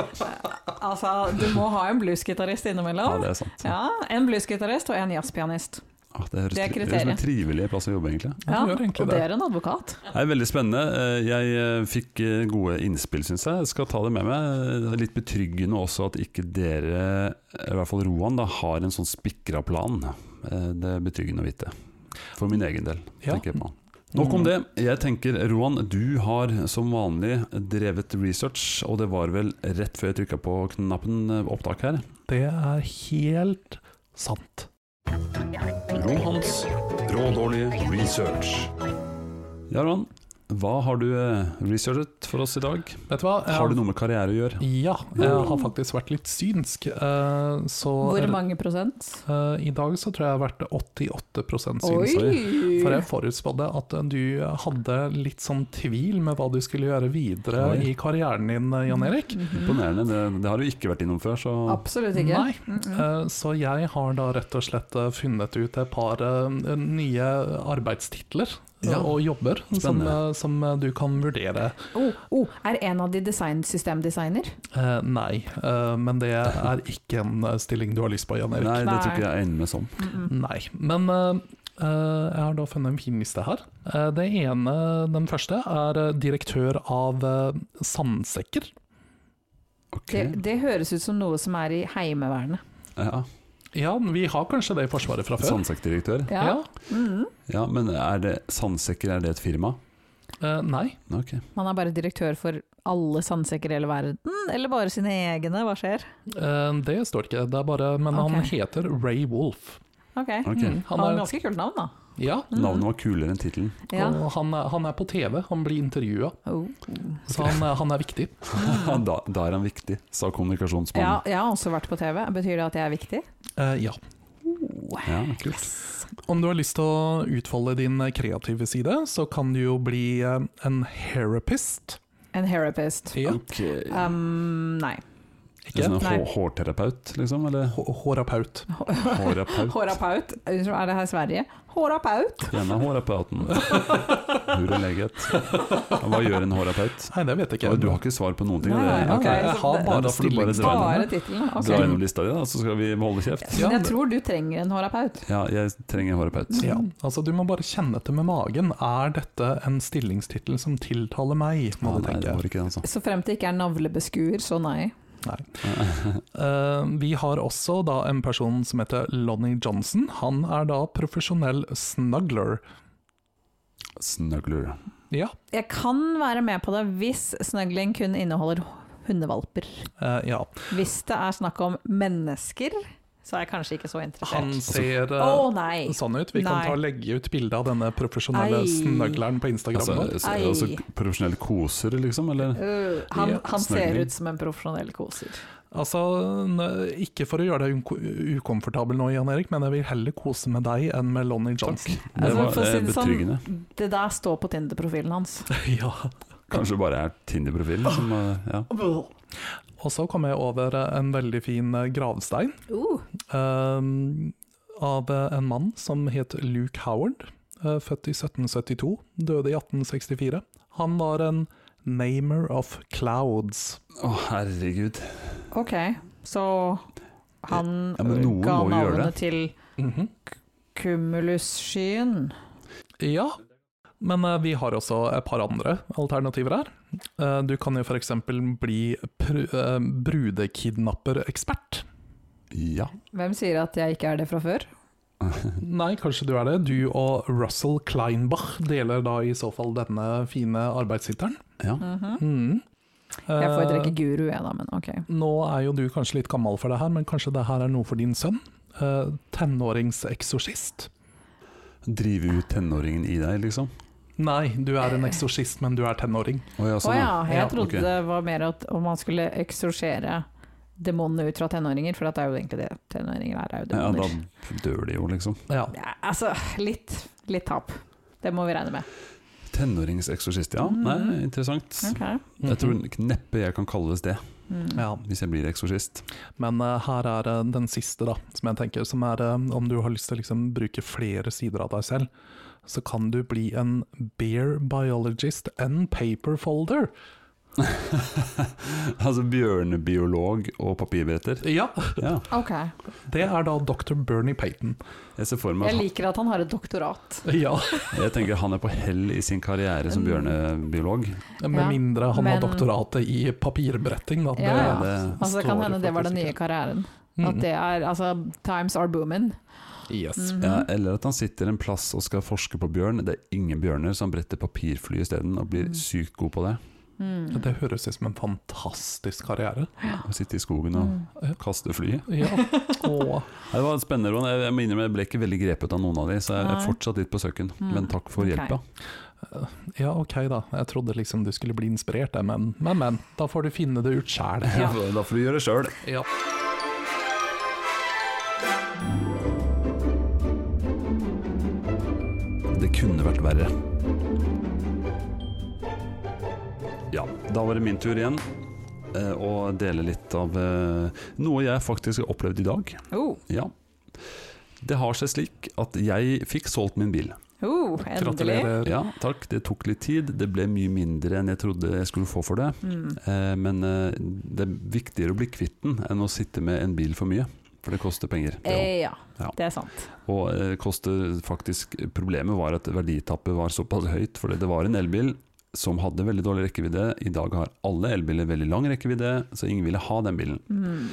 Speaker 2: Altså, du må ha en bluesgitarist
Speaker 1: Ja,
Speaker 2: innimellom.
Speaker 1: det er sant.
Speaker 2: Ja, En bluesgitarist og en jazzpianist.
Speaker 1: Ah, det høres
Speaker 2: Det er
Speaker 1: tri- det høres ut som en
Speaker 2: kriteriet.
Speaker 1: trivelig plass å jobbe, egentlig.
Speaker 2: Ja,
Speaker 3: Ja, det gjør egentlig
Speaker 2: og det
Speaker 3: det.
Speaker 2: er en advokat.
Speaker 1: Det er veldig spennende. Eh, Jeg eh, fikk eh, gode innspill, syns jeg. Jeg Skal ta det med meg. Det er Litt betryggende også at ikke dere, i hvert fall Roan, da, har en sånn spikra plan. Eh, Det er betryggende å vite. For min egen del,
Speaker 3: Ja. Mm.
Speaker 1: tenker jeg på. Nok om det. Jeg tenker, Roan, du har som vanlig drevet research, og det var vel rett før jeg trykka på knappen eh, opptak her.
Speaker 3: Det er helt sant.
Speaker 1: Rohans rådårlige research. Ja, Roan. Hva har du eh, researchet for oss i dag?
Speaker 3: Vet du hva?
Speaker 1: Har det noe med karriere å gjøre?
Speaker 3: Ja, jeg har faktisk vært litt synsk. eh, Så
Speaker 2: Mm. Hvor mange prosent?
Speaker 3: eh, i dag så tror jeg jeg har vært 88
Speaker 2: Oi!
Speaker 3: synsk. For jeg forutspådde at eh, du hadde litt sånn tvil med hva du skulle gjøre videre
Speaker 1: Oi.
Speaker 3: i karrieren din, eh, Jan Erik.
Speaker 2: Mhm.
Speaker 1: Imponerende. Det, det har du ikke vært innom før, så
Speaker 2: Absolutt ikke.
Speaker 3: Nei.
Speaker 2: Mhm.
Speaker 3: Eh, Så jeg har da rett og slett eh, funnet ut et par eh, nye arbeidstitler eh,
Speaker 1: Ja.
Speaker 3: og jobber som,
Speaker 1: Spennende.
Speaker 3: eh, som eh, du kan vurdere.
Speaker 2: Oh, oh, er en av de design systemdesigner?
Speaker 3: Eh, Nei, eh, men det er ikke en eh, stilling du har lyst på, Jan Erik.
Speaker 1: Nei, det tror
Speaker 2: Nei.
Speaker 1: ikke jeg sånn. egner meg som.
Speaker 2: Mhm.
Speaker 3: Nei, men eh, eh, jeg har da funnet en fin liste her. Eh, det ene, den første, er eh, direktør av eh, sandsekker.
Speaker 1: Ok.
Speaker 2: Det, det høres ut som noe som er i Heimevernet.
Speaker 1: Ja.
Speaker 3: Ja, vi har kanskje det i Forsvaret fra før.
Speaker 1: Sandsekkdirektør.
Speaker 3: Ja.
Speaker 2: Ja. Mhm.
Speaker 1: Ja, men er det Sandsekker, er det et firma?
Speaker 3: Eh, nei,
Speaker 1: Ok.
Speaker 2: Man er bare direktør for alle sandsekker i hele verden, eller bare sine egne, hva skjer?
Speaker 3: eh, det står det ikke. Det er bare, men han
Speaker 2: Ok.
Speaker 3: heter Ray Wolf.
Speaker 2: Ok,
Speaker 1: Ok. Mm.
Speaker 2: mhm. Han
Speaker 3: Han
Speaker 2: har
Speaker 3: er-
Speaker 2: ganske kult navn da.
Speaker 3: Ja,
Speaker 2: Mhm.
Speaker 1: Navnet var kulere enn tittelen.
Speaker 2: Ja.
Speaker 3: og han er, han er på TV, han blir intervjua,
Speaker 2: Oh.
Speaker 3: så han, er- han er viktig.
Speaker 1: da, da er han viktig, sa
Speaker 2: Mhm. ja,
Speaker 1: kommunikasjonsmannen.
Speaker 2: jeg har også vært på TV. Betyr det at jeg er viktig?
Speaker 3: Eh, ja.
Speaker 1: Ja, kult.
Speaker 2: Yes.
Speaker 3: Om du har lyst til å utfolde din kreative side, så kan du jo bli eh, en herapist.
Speaker 2: En therapist.
Speaker 3: Ja.
Speaker 1: Okay.
Speaker 2: Um, nei.
Speaker 1: En
Speaker 3: Ikke?
Speaker 1: sånn
Speaker 2: Nei.
Speaker 1: hå- hårterapeut, liksom? Eller
Speaker 3: Hå- Hårapaut.
Speaker 1: hårapaut?
Speaker 2: Hårapaut. Unnskyld, er det her Sverige? Hårapaut.
Speaker 1: Gjerne hårapauten. Hurleget. Hva gjør en hårapaut?
Speaker 3: Nei, det vet jeg ikke.
Speaker 1: Oi, Du har ikke svar på noen ting?
Speaker 2: Nei,
Speaker 1: det-
Speaker 2: nei,
Speaker 1: ok.
Speaker 2: nei.
Speaker 3: Jeg har
Speaker 1: Da får
Speaker 3: bare
Speaker 1: du bare dra
Speaker 3: stillingen.
Speaker 1: gjennom
Speaker 2: Bare
Speaker 1: det.
Speaker 2: tittelen? Ok.
Speaker 1: Dra gjennom lista di, da, så skal vi holde kjeft.
Speaker 2: Men jeg tror du trenger en hårapaut.
Speaker 1: Ja, jeg trenger en hårapaut.
Speaker 3: Ja, altså Du må bare kjenne etter med magen. Er dette en stillingstittel som tiltaler meg? må
Speaker 1: Ah,
Speaker 3: du
Speaker 1: nei, det
Speaker 3: tenke.
Speaker 1: var ikke det, altså.
Speaker 2: Så frem til ikke er navlebeskuer, så nei.
Speaker 3: Eh, vi har også da en person som heter Lonnie Johnson. Han er da profesjonell snuggler.
Speaker 1: Snuggler.
Speaker 3: Ja,
Speaker 2: Jeg kan være med på det hvis snøgling kun inneholder hundevalper.
Speaker 3: eh, ja.
Speaker 2: Hvis det er snakk om mennesker, så er jeg kanskje ikke så
Speaker 3: han
Speaker 2: interessert.
Speaker 3: ser eh,
Speaker 2: Å nei!
Speaker 3: sånn ut. Vi kan
Speaker 2: Nei.
Speaker 3: ta og legge ut bilde av denne profesjonelle
Speaker 2: Ei.
Speaker 3: snuggleren på Instagram.
Speaker 1: Altså,
Speaker 3: vår.
Speaker 1: altså, altså profesjonelle koser, liksom? Eller?
Speaker 2: Øh, han
Speaker 3: Ja,
Speaker 2: han ser
Speaker 1: snøgling.
Speaker 2: ut som en profesjonell koser.
Speaker 3: Altså, n- ikke for å gjøre deg unko- ukomfortabel nå, Jan Erik, men jeg vil heller kose med deg enn med Lonnie Johnson.
Speaker 1: Det
Speaker 2: Altså,
Speaker 1: var
Speaker 2: for å si
Speaker 1: eh,
Speaker 2: det sånn-
Speaker 1: betryggende.
Speaker 2: Det der står på Tinder-profilen hans.
Speaker 3: ja.
Speaker 1: Kanskje det bare er Tinder-profilen som eh, ja.
Speaker 3: Og så kom jeg over eh, en veldig fin eh, gravstein
Speaker 2: Uh,
Speaker 3: ehm, av eh, en mann som het Luke Howard, eh, født i 1772, døde i 1864. Han var en namer of clouds.
Speaker 1: Å, herregud.
Speaker 2: ok, så han
Speaker 1: Ja, men noen
Speaker 2: ga
Speaker 1: må jo gjøre det.
Speaker 2: navnet til Cumulusskyen.
Speaker 3: Ja, men eh, vi har også et par andre alternativer her. Eh, du kan jo f.eks. bli pr eh, brudekidnapperekspert.
Speaker 1: Ja.
Speaker 2: Hvem sier at jeg ikke er det fra før?
Speaker 1: Mhm.
Speaker 3: Nei, kanskje du er det. Du og Russell Kleinbach deler da i så fall denne fine arbeidshitteren.
Speaker 1: ja.
Speaker 2: Mhm.
Speaker 3: Mm.
Speaker 2: Jeg foretrekker
Speaker 3: Eh,
Speaker 2: guru, jeg da, men ok.
Speaker 3: Nå er jo du kanskje litt gammel for det her, men kanskje det her er noe for din sønn? Eh, Tenåringseksorsist?
Speaker 1: Drive ut tenåringen i deg, liksom.
Speaker 3: Nei, du er en eksorsist, men du er tenåring.
Speaker 1: Å ja,
Speaker 2: Å
Speaker 1: sånn, ja.
Speaker 2: ja, jeg
Speaker 3: Ja,
Speaker 2: trodde
Speaker 1: ok.
Speaker 2: det var mer at om man skulle eksorsere demonene ut fra tenåringer, for at det er jo egentlig det tenåringer er, er jo
Speaker 1: ja.
Speaker 2: demoner.
Speaker 1: Da dør de jo, liksom.
Speaker 3: Ja.
Speaker 2: Ja, altså, litt, litt tap. Det må vi regne med.
Speaker 1: Tenåringseksorsist, ja.
Speaker 2: Mm.
Speaker 1: Nei, interessant.
Speaker 2: Ok.
Speaker 1: Jeg tror neppe jeg kan kalles det,
Speaker 2: Mm.
Speaker 3: Mhm. ja.
Speaker 1: hvis jeg blir eksorsist.
Speaker 3: Men eh, her er eh, den siste, da, som jeg tenker, som er eh, om du har lyst til å liksom, bruke flere sider av deg selv, så kan du bli en bear biologist and paper folder.
Speaker 1: altså bjørnebiolog og papirbeter.
Speaker 3: Ja,
Speaker 1: Ja.
Speaker 2: Ok.
Speaker 3: det er da dr. Bernie Payton.
Speaker 1: Jeg ser for
Speaker 2: Jeg
Speaker 1: meg
Speaker 2: liker at han har et doktorat.
Speaker 3: Ja,
Speaker 1: Jeg tenker han er på hell i sin karriere
Speaker 2: Mm.
Speaker 1: som bjørnebiolog.
Speaker 3: Med
Speaker 2: Ja,
Speaker 3: mindre han
Speaker 2: men-
Speaker 3: har doktoratet i papirbretting, da. Det-
Speaker 2: Ja, ja.
Speaker 1: Det,
Speaker 2: Altså, det kan
Speaker 3: Står
Speaker 2: hende det var den nye
Speaker 3: faktisk
Speaker 2: karrieren.
Speaker 3: Mm.
Speaker 2: At det er, altså, Times are booming.
Speaker 3: Yes.
Speaker 2: Mhm.
Speaker 1: Ja, eller at han sitter en plass og skal forske på bjørn. Det er ingen bjørner, så han bretter papirfly isteden og blir
Speaker 2: Mm.
Speaker 1: sykt god på det.
Speaker 2: Mm.
Speaker 3: Det høres ut som en fantastisk karriere.
Speaker 1: Å sitte i skogen og
Speaker 2: Mm.
Speaker 1: kaste fly.
Speaker 3: Ja. Åh.
Speaker 1: Nei, Det var en spennende Roan. Jeg, jeg må innrømme jeg ble ikke veldig grepet av noen av de, så jeg
Speaker 2: Nei.
Speaker 1: er fortsatt litt på søken.
Speaker 2: Mm.
Speaker 1: Men takk for
Speaker 2: Ok.
Speaker 1: hjelpa.
Speaker 3: ja, ok da. Jeg trodde liksom du skulle bli inspirert, jeg, men, men, men. Da får du finne det ut sjæl.
Speaker 2: Ja.
Speaker 1: Da får du gjøre det sjøl.
Speaker 3: Ja.
Speaker 1: Det kunne vært verre. Ja, da var det min tur igjen. eh, Å dele litt av eh, noe jeg faktisk har opplevd i dag.
Speaker 2: Oh,
Speaker 1: Ja. Det har seg slik at jeg fikk solgt min bil.
Speaker 2: oh, endelig.
Speaker 3: Gratulerer.
Speaker 1: Ja, takk. Det tok litt tid. Det ble mye mindre enn jeg trodde jeg skulle få for det.
Speaker 2: Mm.
Speaker 1: Eh, Men eh, det er viktigere å bli kvitt den enn å sitte med en bil for mye. For det koster penger.
Speaker 2: Eh, ja,
Speaker 1: Ja.
Speaker 2: det er sant.
Speaker 1: Og eh, koster faktisk Problemet var at verditappet var såpass høyt, fordi det var en elbil som hadde veldig dårlig rekkevidde. I dag har alle elbiler veldig lang rekkevidde, så ingen ville ha den bilen.
Speaker 2: Mm.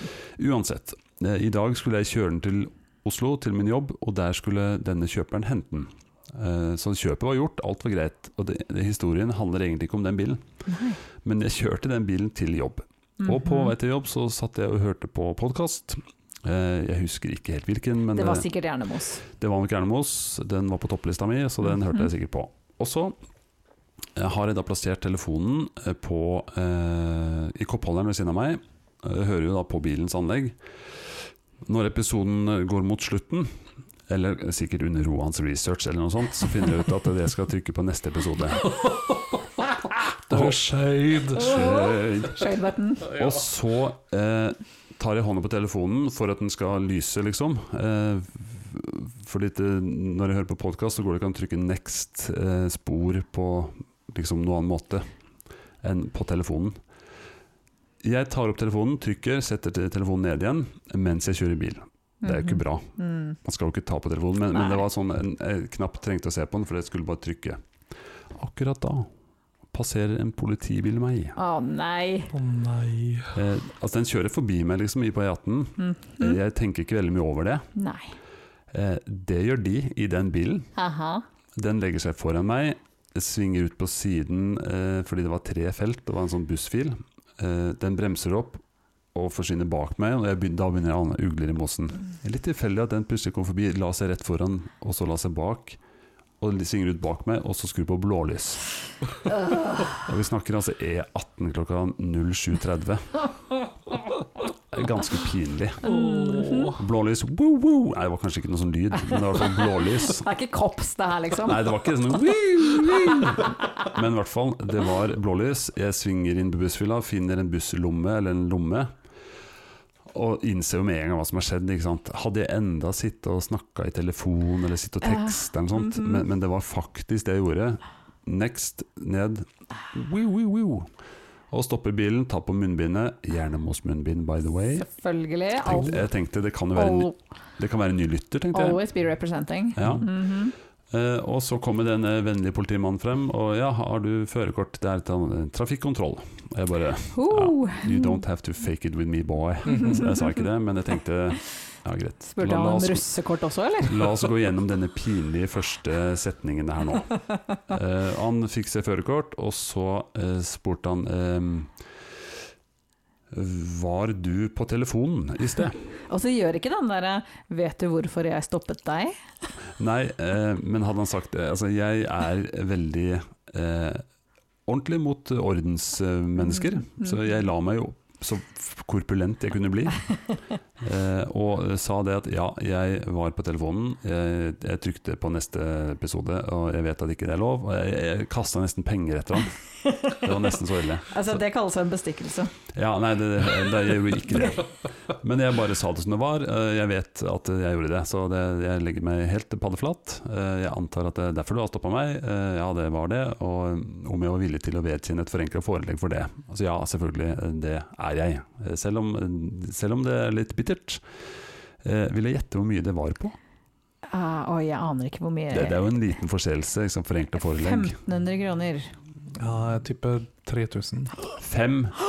Speaker 1: Uansett, eh, i dag skulle jeg kjøre den til Oslo, til min jobb, og der skulle denne kjøperen hente den. Eh, Så kjøpet var gjort, alt var greit. Og det, det, historien handler egentlig ikke om den bilen,
Speaker 2: Nei.
Speaker 1: men jeg kjørte den bilen til jobb.
Speaker 2: Mm.
Speaker 1: Og
Speaker 2: Mhm.
Speaker 1: på vei til jobb så satt jeg og hørte på podkast. Jeg husker ikke helt hvilken, men
Speaker 2: Det var
Speaker 1: eh,
Speaker 2: sikkert Jernemos.
Speaker 1: det var nok Ernemos, den var på topplista mi, så den hørte jeg sikkert på. Og så eh, har jeg da plassert telefonen eh, på, eh, i koppholderen ved siden av meg. Jeg hører jo da på bilens anlegg. Når episoden eh, går mot slutten, eller sikkert under Roans research eller noe sånt, så finner jeg ut at jeg skal trykke på neste episode.
Speaker 3: Åh, shade.
Speaker 1: Skjønt.
Speaker 2: Skøyteverten.
Speaker 1: Og så eh, tar jeg hånda på telefonen for at den skal lyse, liksom. Eh, f- fordi det, når jeg hører på podkast, så går det ikke an å trykke 'next' eh, spor på liksom noen annen måte enn på telefonen. Jeg tar opp telefonen, trykker, setter te- telefonen ned igjen mens jeg kjører bil. Det er jo ikke bra.
Speaker 2: Mm.
Speaker 1: Man skal jo ikke ta på telefonen, men, men
Speaker 2: Nei.
Speaker 1: det var sånn en, jeg knapt trengte å se på den, for jeg skulle bare trykke. Akkurat da passerer en politibil meg.
Speaker 2: Å nei.
Speaker 3: Å nei.
Speaker 1: Eh, altså Den kjører forbi meg liksom i på E18.
Speaker 2: Mm.
Speaker 1: Eh, Jeg tenker ikke veldig mye over det.
Speaker 2: Nei.
Speaker 1: Eh, det gjør de i den bilen.
Speaker 2: Aha.
Speaker 1: Den legger seg foran meg, svinger ut på siden eh, fordi det var tre felt, det var en sånn bussfil. Eh, den bremser opp og forsvinner bak meg, og jeg begyn- da begynner jeg å ane ugler i mossen. Det er Litt tilfeldig at den plutselig kom forbi, la seg rett foran, og så la seg bak. Og de svinger ut bak meg, og så skrur på blålys. Og vi snakker altså E18 klokka 07.30. Det er ganske pinlig.
Speaker 2: Mhm.
Speaker 1: Blålys woo, woo. Nei, det var kanskje ikke noe sånn lyd, men det var i hvert fall blålys.
Speaker 2: Det er ikke kops det her, liksom.
Speaker 1: Nei, det var ikke sånn «Wii, wii». Men i hvert fall, det var blålys. Jeg svinger inn på bussfylla, finner en busslomme eller en lomme. Og innser jo med en gang hva som har skjedd. Ikke sant? Hadde jeg enda sittet og snakka i telefon eller sittet og
Speaker 2: Ja.
Speaker 1: teksta, eller noe sånt, men, men det var faktisk det jeg gjorde. Next, ned. Wii, wii, wii. Og stopper bilen, tar på munnbindet. Jernemos-munnbind, by the way.
Speaker 2: Selvfølgelig.
Speaker 1: Tenkte, jeg tenkte det kan jo være en, ny-
Speaker 2: Al-
Speaker 1: det kan være en ny lytter, tenkte jeg.
Speaker 2: always be representing.
Speaker 1: Ja.
Speaker 2: Mhm.
Speaker 1: Eh, og så kommer den eh, vennlige politimannen frem, og ja, har du førerkort? Det er til eh, trafikkontroll. Og jeg bare
Speaker 2: Ho.
Speaker 1: You don't have to fake it with me, boy. Så jeg sa ikke det, men jeg tenkte ja, greit.
Speaker 2: Spurte
Speaker 1: La-
Speaker 2: han
Speaker 1: la
Speaker 2: om
Speaker 1: oss-
Speaker 2: russekort også, eller?
Speaker 1: La oss gå gjennom denne pinlige første setningen her nå. Eh, han fikk seg førerkort, og så eh, spurte han eh, Var du på telefonen i sted?
Speaker 2: Og så gjør ikke den derre 'vet du hvorfor jeg stoppet deg'?
Speaker 1: Nei, eh, men hadde han sagt det Altså, jeg er veldig eh, ordentlig mot ordensmennesker,
Speaker 2: Mm.
Speaker 1: så jeg la meg jo så korpulent jeg kunne bli. Eh, og sa det at ja, jeg var på telefonen, jeg, jeg trykte på neste episode, og jeg vet at ikke det er lov, og jeg, jeg kasta nesten penger etter ham. Det var nesten så ille.
Speaker 2: Altså, det kalles en bestikkelse.
Speaker 1: Ja, nei, det, det, jeg gjorde ikke det. Men jeg bare sa det som det var. Eh, Jeg vet at jeg gjorde det, så det, jeg legger meg helt paddeflat. Eh, Jeg antar at det er derfor du har stoppa meg. Eh, Ja, det var det. Og om jeg var villig til å vedkjenne et forenkla forelegg for det. Altså ja, selvfølgelig, eh, det er jeg. Eh, Selv om, selv om det er litt bittert. Eh, vil jeg gjette hvor mye det var på?
Speaker 2: Ah, Oi, jeg aner ikke hvor mye
Speaker 1: Det, det er jo en liten forseelse, liksom forenkla forelegg.
Speaker 2: 1500 kroner.
Speaker 3: Ja, jeg tipper 3000.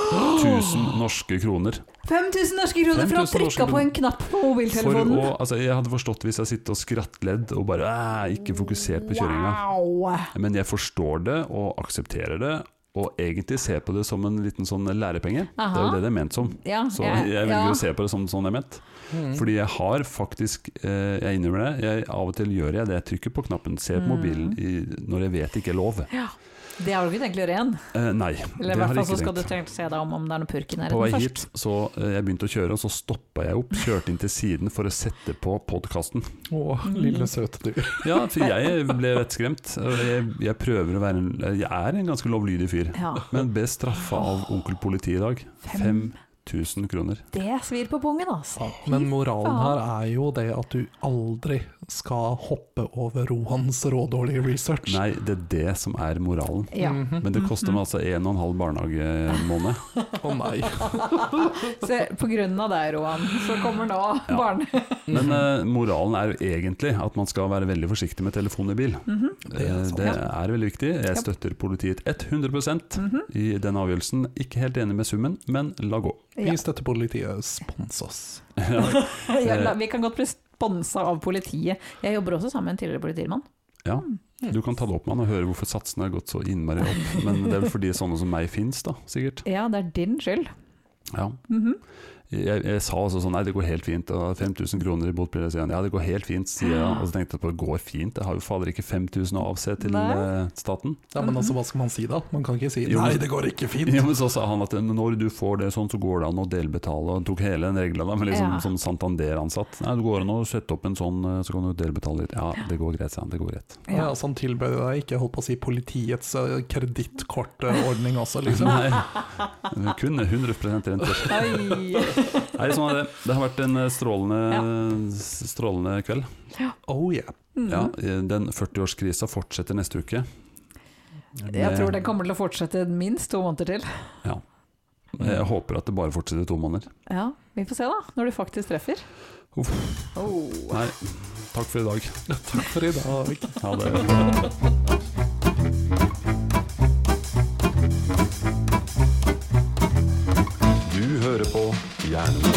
Speaker 1: 5000 norske kroner.
Speaker 2: 5000 norske kroner for
Speaker 1: 5000
Speaker 2: å
Speaker 1: norske
Speaker 2: trykke på en knapp på
Speaker 1: For å,
Speaker 2: mobiltelefonen!
Speaker 1: altså, jeg hadde forstått hvis jeg sittet og skrattledd og bare "Æ, ikke fokusert på kjøringa.
Speaker 2: Wow!
Speaker 1: Men jeg forstår det og aksepterer det, og egentlig ser på det som en liten sånn lærepenge.
Speaker 2: Aha.
Speaker 1: Det er jo det det er ment som.
Speaker 2: Ja,
Speaker 1: Så
Speaker 2: ja,
Speaker 1: jeg velger
Speaker 2: ja.
Speaker 1: å se på det som sånn det er ment.
Speaker 3: Mm.
Speaker 1: Fordi jeg har faktisk eh, Jeg innrømmer det. Jeg, av og til gjør jeg det. Jeg trykker på knappen, ser på
Speaker 2: Mm.
Speaker 1: mobilen i, når jeg vet det ikke er lov.
Speaker 2: Det har du ikke tenkt å gjøre igjen?
Speaker 1: Eh, nei,
Speaker 2: Eller
Speaker 1: det
Speaker 2: i hvert
Speaker 1: har
Speaker 2: fall
Speaker 1: jeg
Speaker 2: så
Speaker 1: ikke
Speaker 2: skal du
Speaker 1: tenkt.
Speaker 2: tenke å se deg om om det er noe purk i
Speaker 1: På vei
Speaker 2: nærheten
Speaker 1: hit
Speaker 2: først.
Speaker 1: så eh, jeg begynte å kjøre, og så stoppa jeg opp. Kjørte inn til siden for å sette på podkasten.
Speaker 3: Å, lille
Speaker 1: Mm.
Speaker 3: søte du.
Speaker 1: Ja, for jeg ble vettskremt. Jeg, jeg prøver å være en, Jeg er en ganske lovlydig fyr.
Speaker 2: Ja,
Speaker 1: Men ble straffa av onkel politi i dag.
Speaker 2: Fem.
Speaker 1: 5000 kroner.
Speaker 2: det svir på pungen, altså.
Speaker 3: Ja, men moralen
Speaker 2: faen.
Speaker 3: her er jo det at du aldri skal hoppe over Rohans rådårlige research.
Speaker 1: Nei, det er det som er moralen.
Speaker 2: Ja.
Speaker 3: Mhm.
Speaker 1: Men det koster meg altså en og en halv barnehagemåned.
Speaker 3: Å nei.
Speaker 2: Se, på grunn av deg, Roan, så kommer nå
Speaker 1: Ja.
Speaker 2: barnet.
Speaker 1: Men
Speaker 3: Mhm.
Speaker 1: eh, moralen er jo egentlig at man skal være veldig forsiktig med telefon i bil.
Speaker 3: Det er
Speaker 1: Eh,
Speaker 3: sant.
Speaker 1: det er veldig viktig. Jeg støtter politiet 100 i den avgjørelsen. Ikke helt enig med summen, men la gå.
Speaker 2: Ja.
Speaker 3: Hvis dette politiet sponser oss.
Speaker 2: Ja,
Speaker 1: Eh.
Speaker 2: la- vi kan godt bli sponsa av politiet. Jeg jobber også sammen med en tidligere politimann.
Speaker 1: Ja.
Speaker 2: Mm,
Speaker 1: Du kan ta det opp med han og høre hvorfor satsene har gått så innmari opp. Men det er vel fordi sånne som meg fins, da, sikkert.
Speaker 2: Ja, det er din skyld.
Speaker 1: Ja.
Speaker 2: Mhm.
Speaker 1: Jeg, jeg sa altså sånn Nei, det går helt fint. Og 5000 kroner i bot, blir det, sier han. Ja, det går helt fint, sier jeg. Og så tenkte jeg på det går fint. Jeg har jo fader ikke 5000 å avse til
Speaker 2: Nei.
Speaker 1: eh, staten.
Speaker 3: Ja, men altså, hva skal man si da? Man kan ikke si
Speaker 1: Jo, men-
Speaker 3: nei, det går ikke fint.
Speaker 1: Ja, men så sa han at når du får det sånn, så går det an å delbetale. Og Han tok hele den regla da, men liksom
Speaker 2: Ja.
Speaker 1: som Santander-ansatt. Nei, det går an å sette opp en sånn, eh, så kan du delbetale litt. Ja, det går greit, sa han. Det går greit.
Speaker 3: Ja, altså Han tilbød deg ikke holdt på å si politiets eh, kredittkortordning også, liksom.
Speaker 1: Nei, kun 100 rente.
Speaker 2: Oi.
Speaker 1: Nei, sånn er det. Det har vært en eh,
Speaker 2: Ja.
Speaker 1: strålende, strålende kveld.
Speaker 3: Oh yeah.
Speaker 2: Mhm. Mm.
Speaker 1: Ja, eh, den 40-årskrisa fortsetter neste uke.
Speaker 2: Jeg
Speaker 1: Med-
Speaker 2: tror den kommer til å fortsette minst to måneder til.
Speaker 1: Jeg håper at det bare fortsetter i to måneder.
Speaker 2: Ja, Vi får se, da. Når du faktisk treffer.
Speaker 1: Uff.
Speaker 2: Oh.
Speaker 1: Nei, takk for i dag.
Speaker 3: Takk for i dag.
Speaker 1: Ha det. Du hører på Hjernen.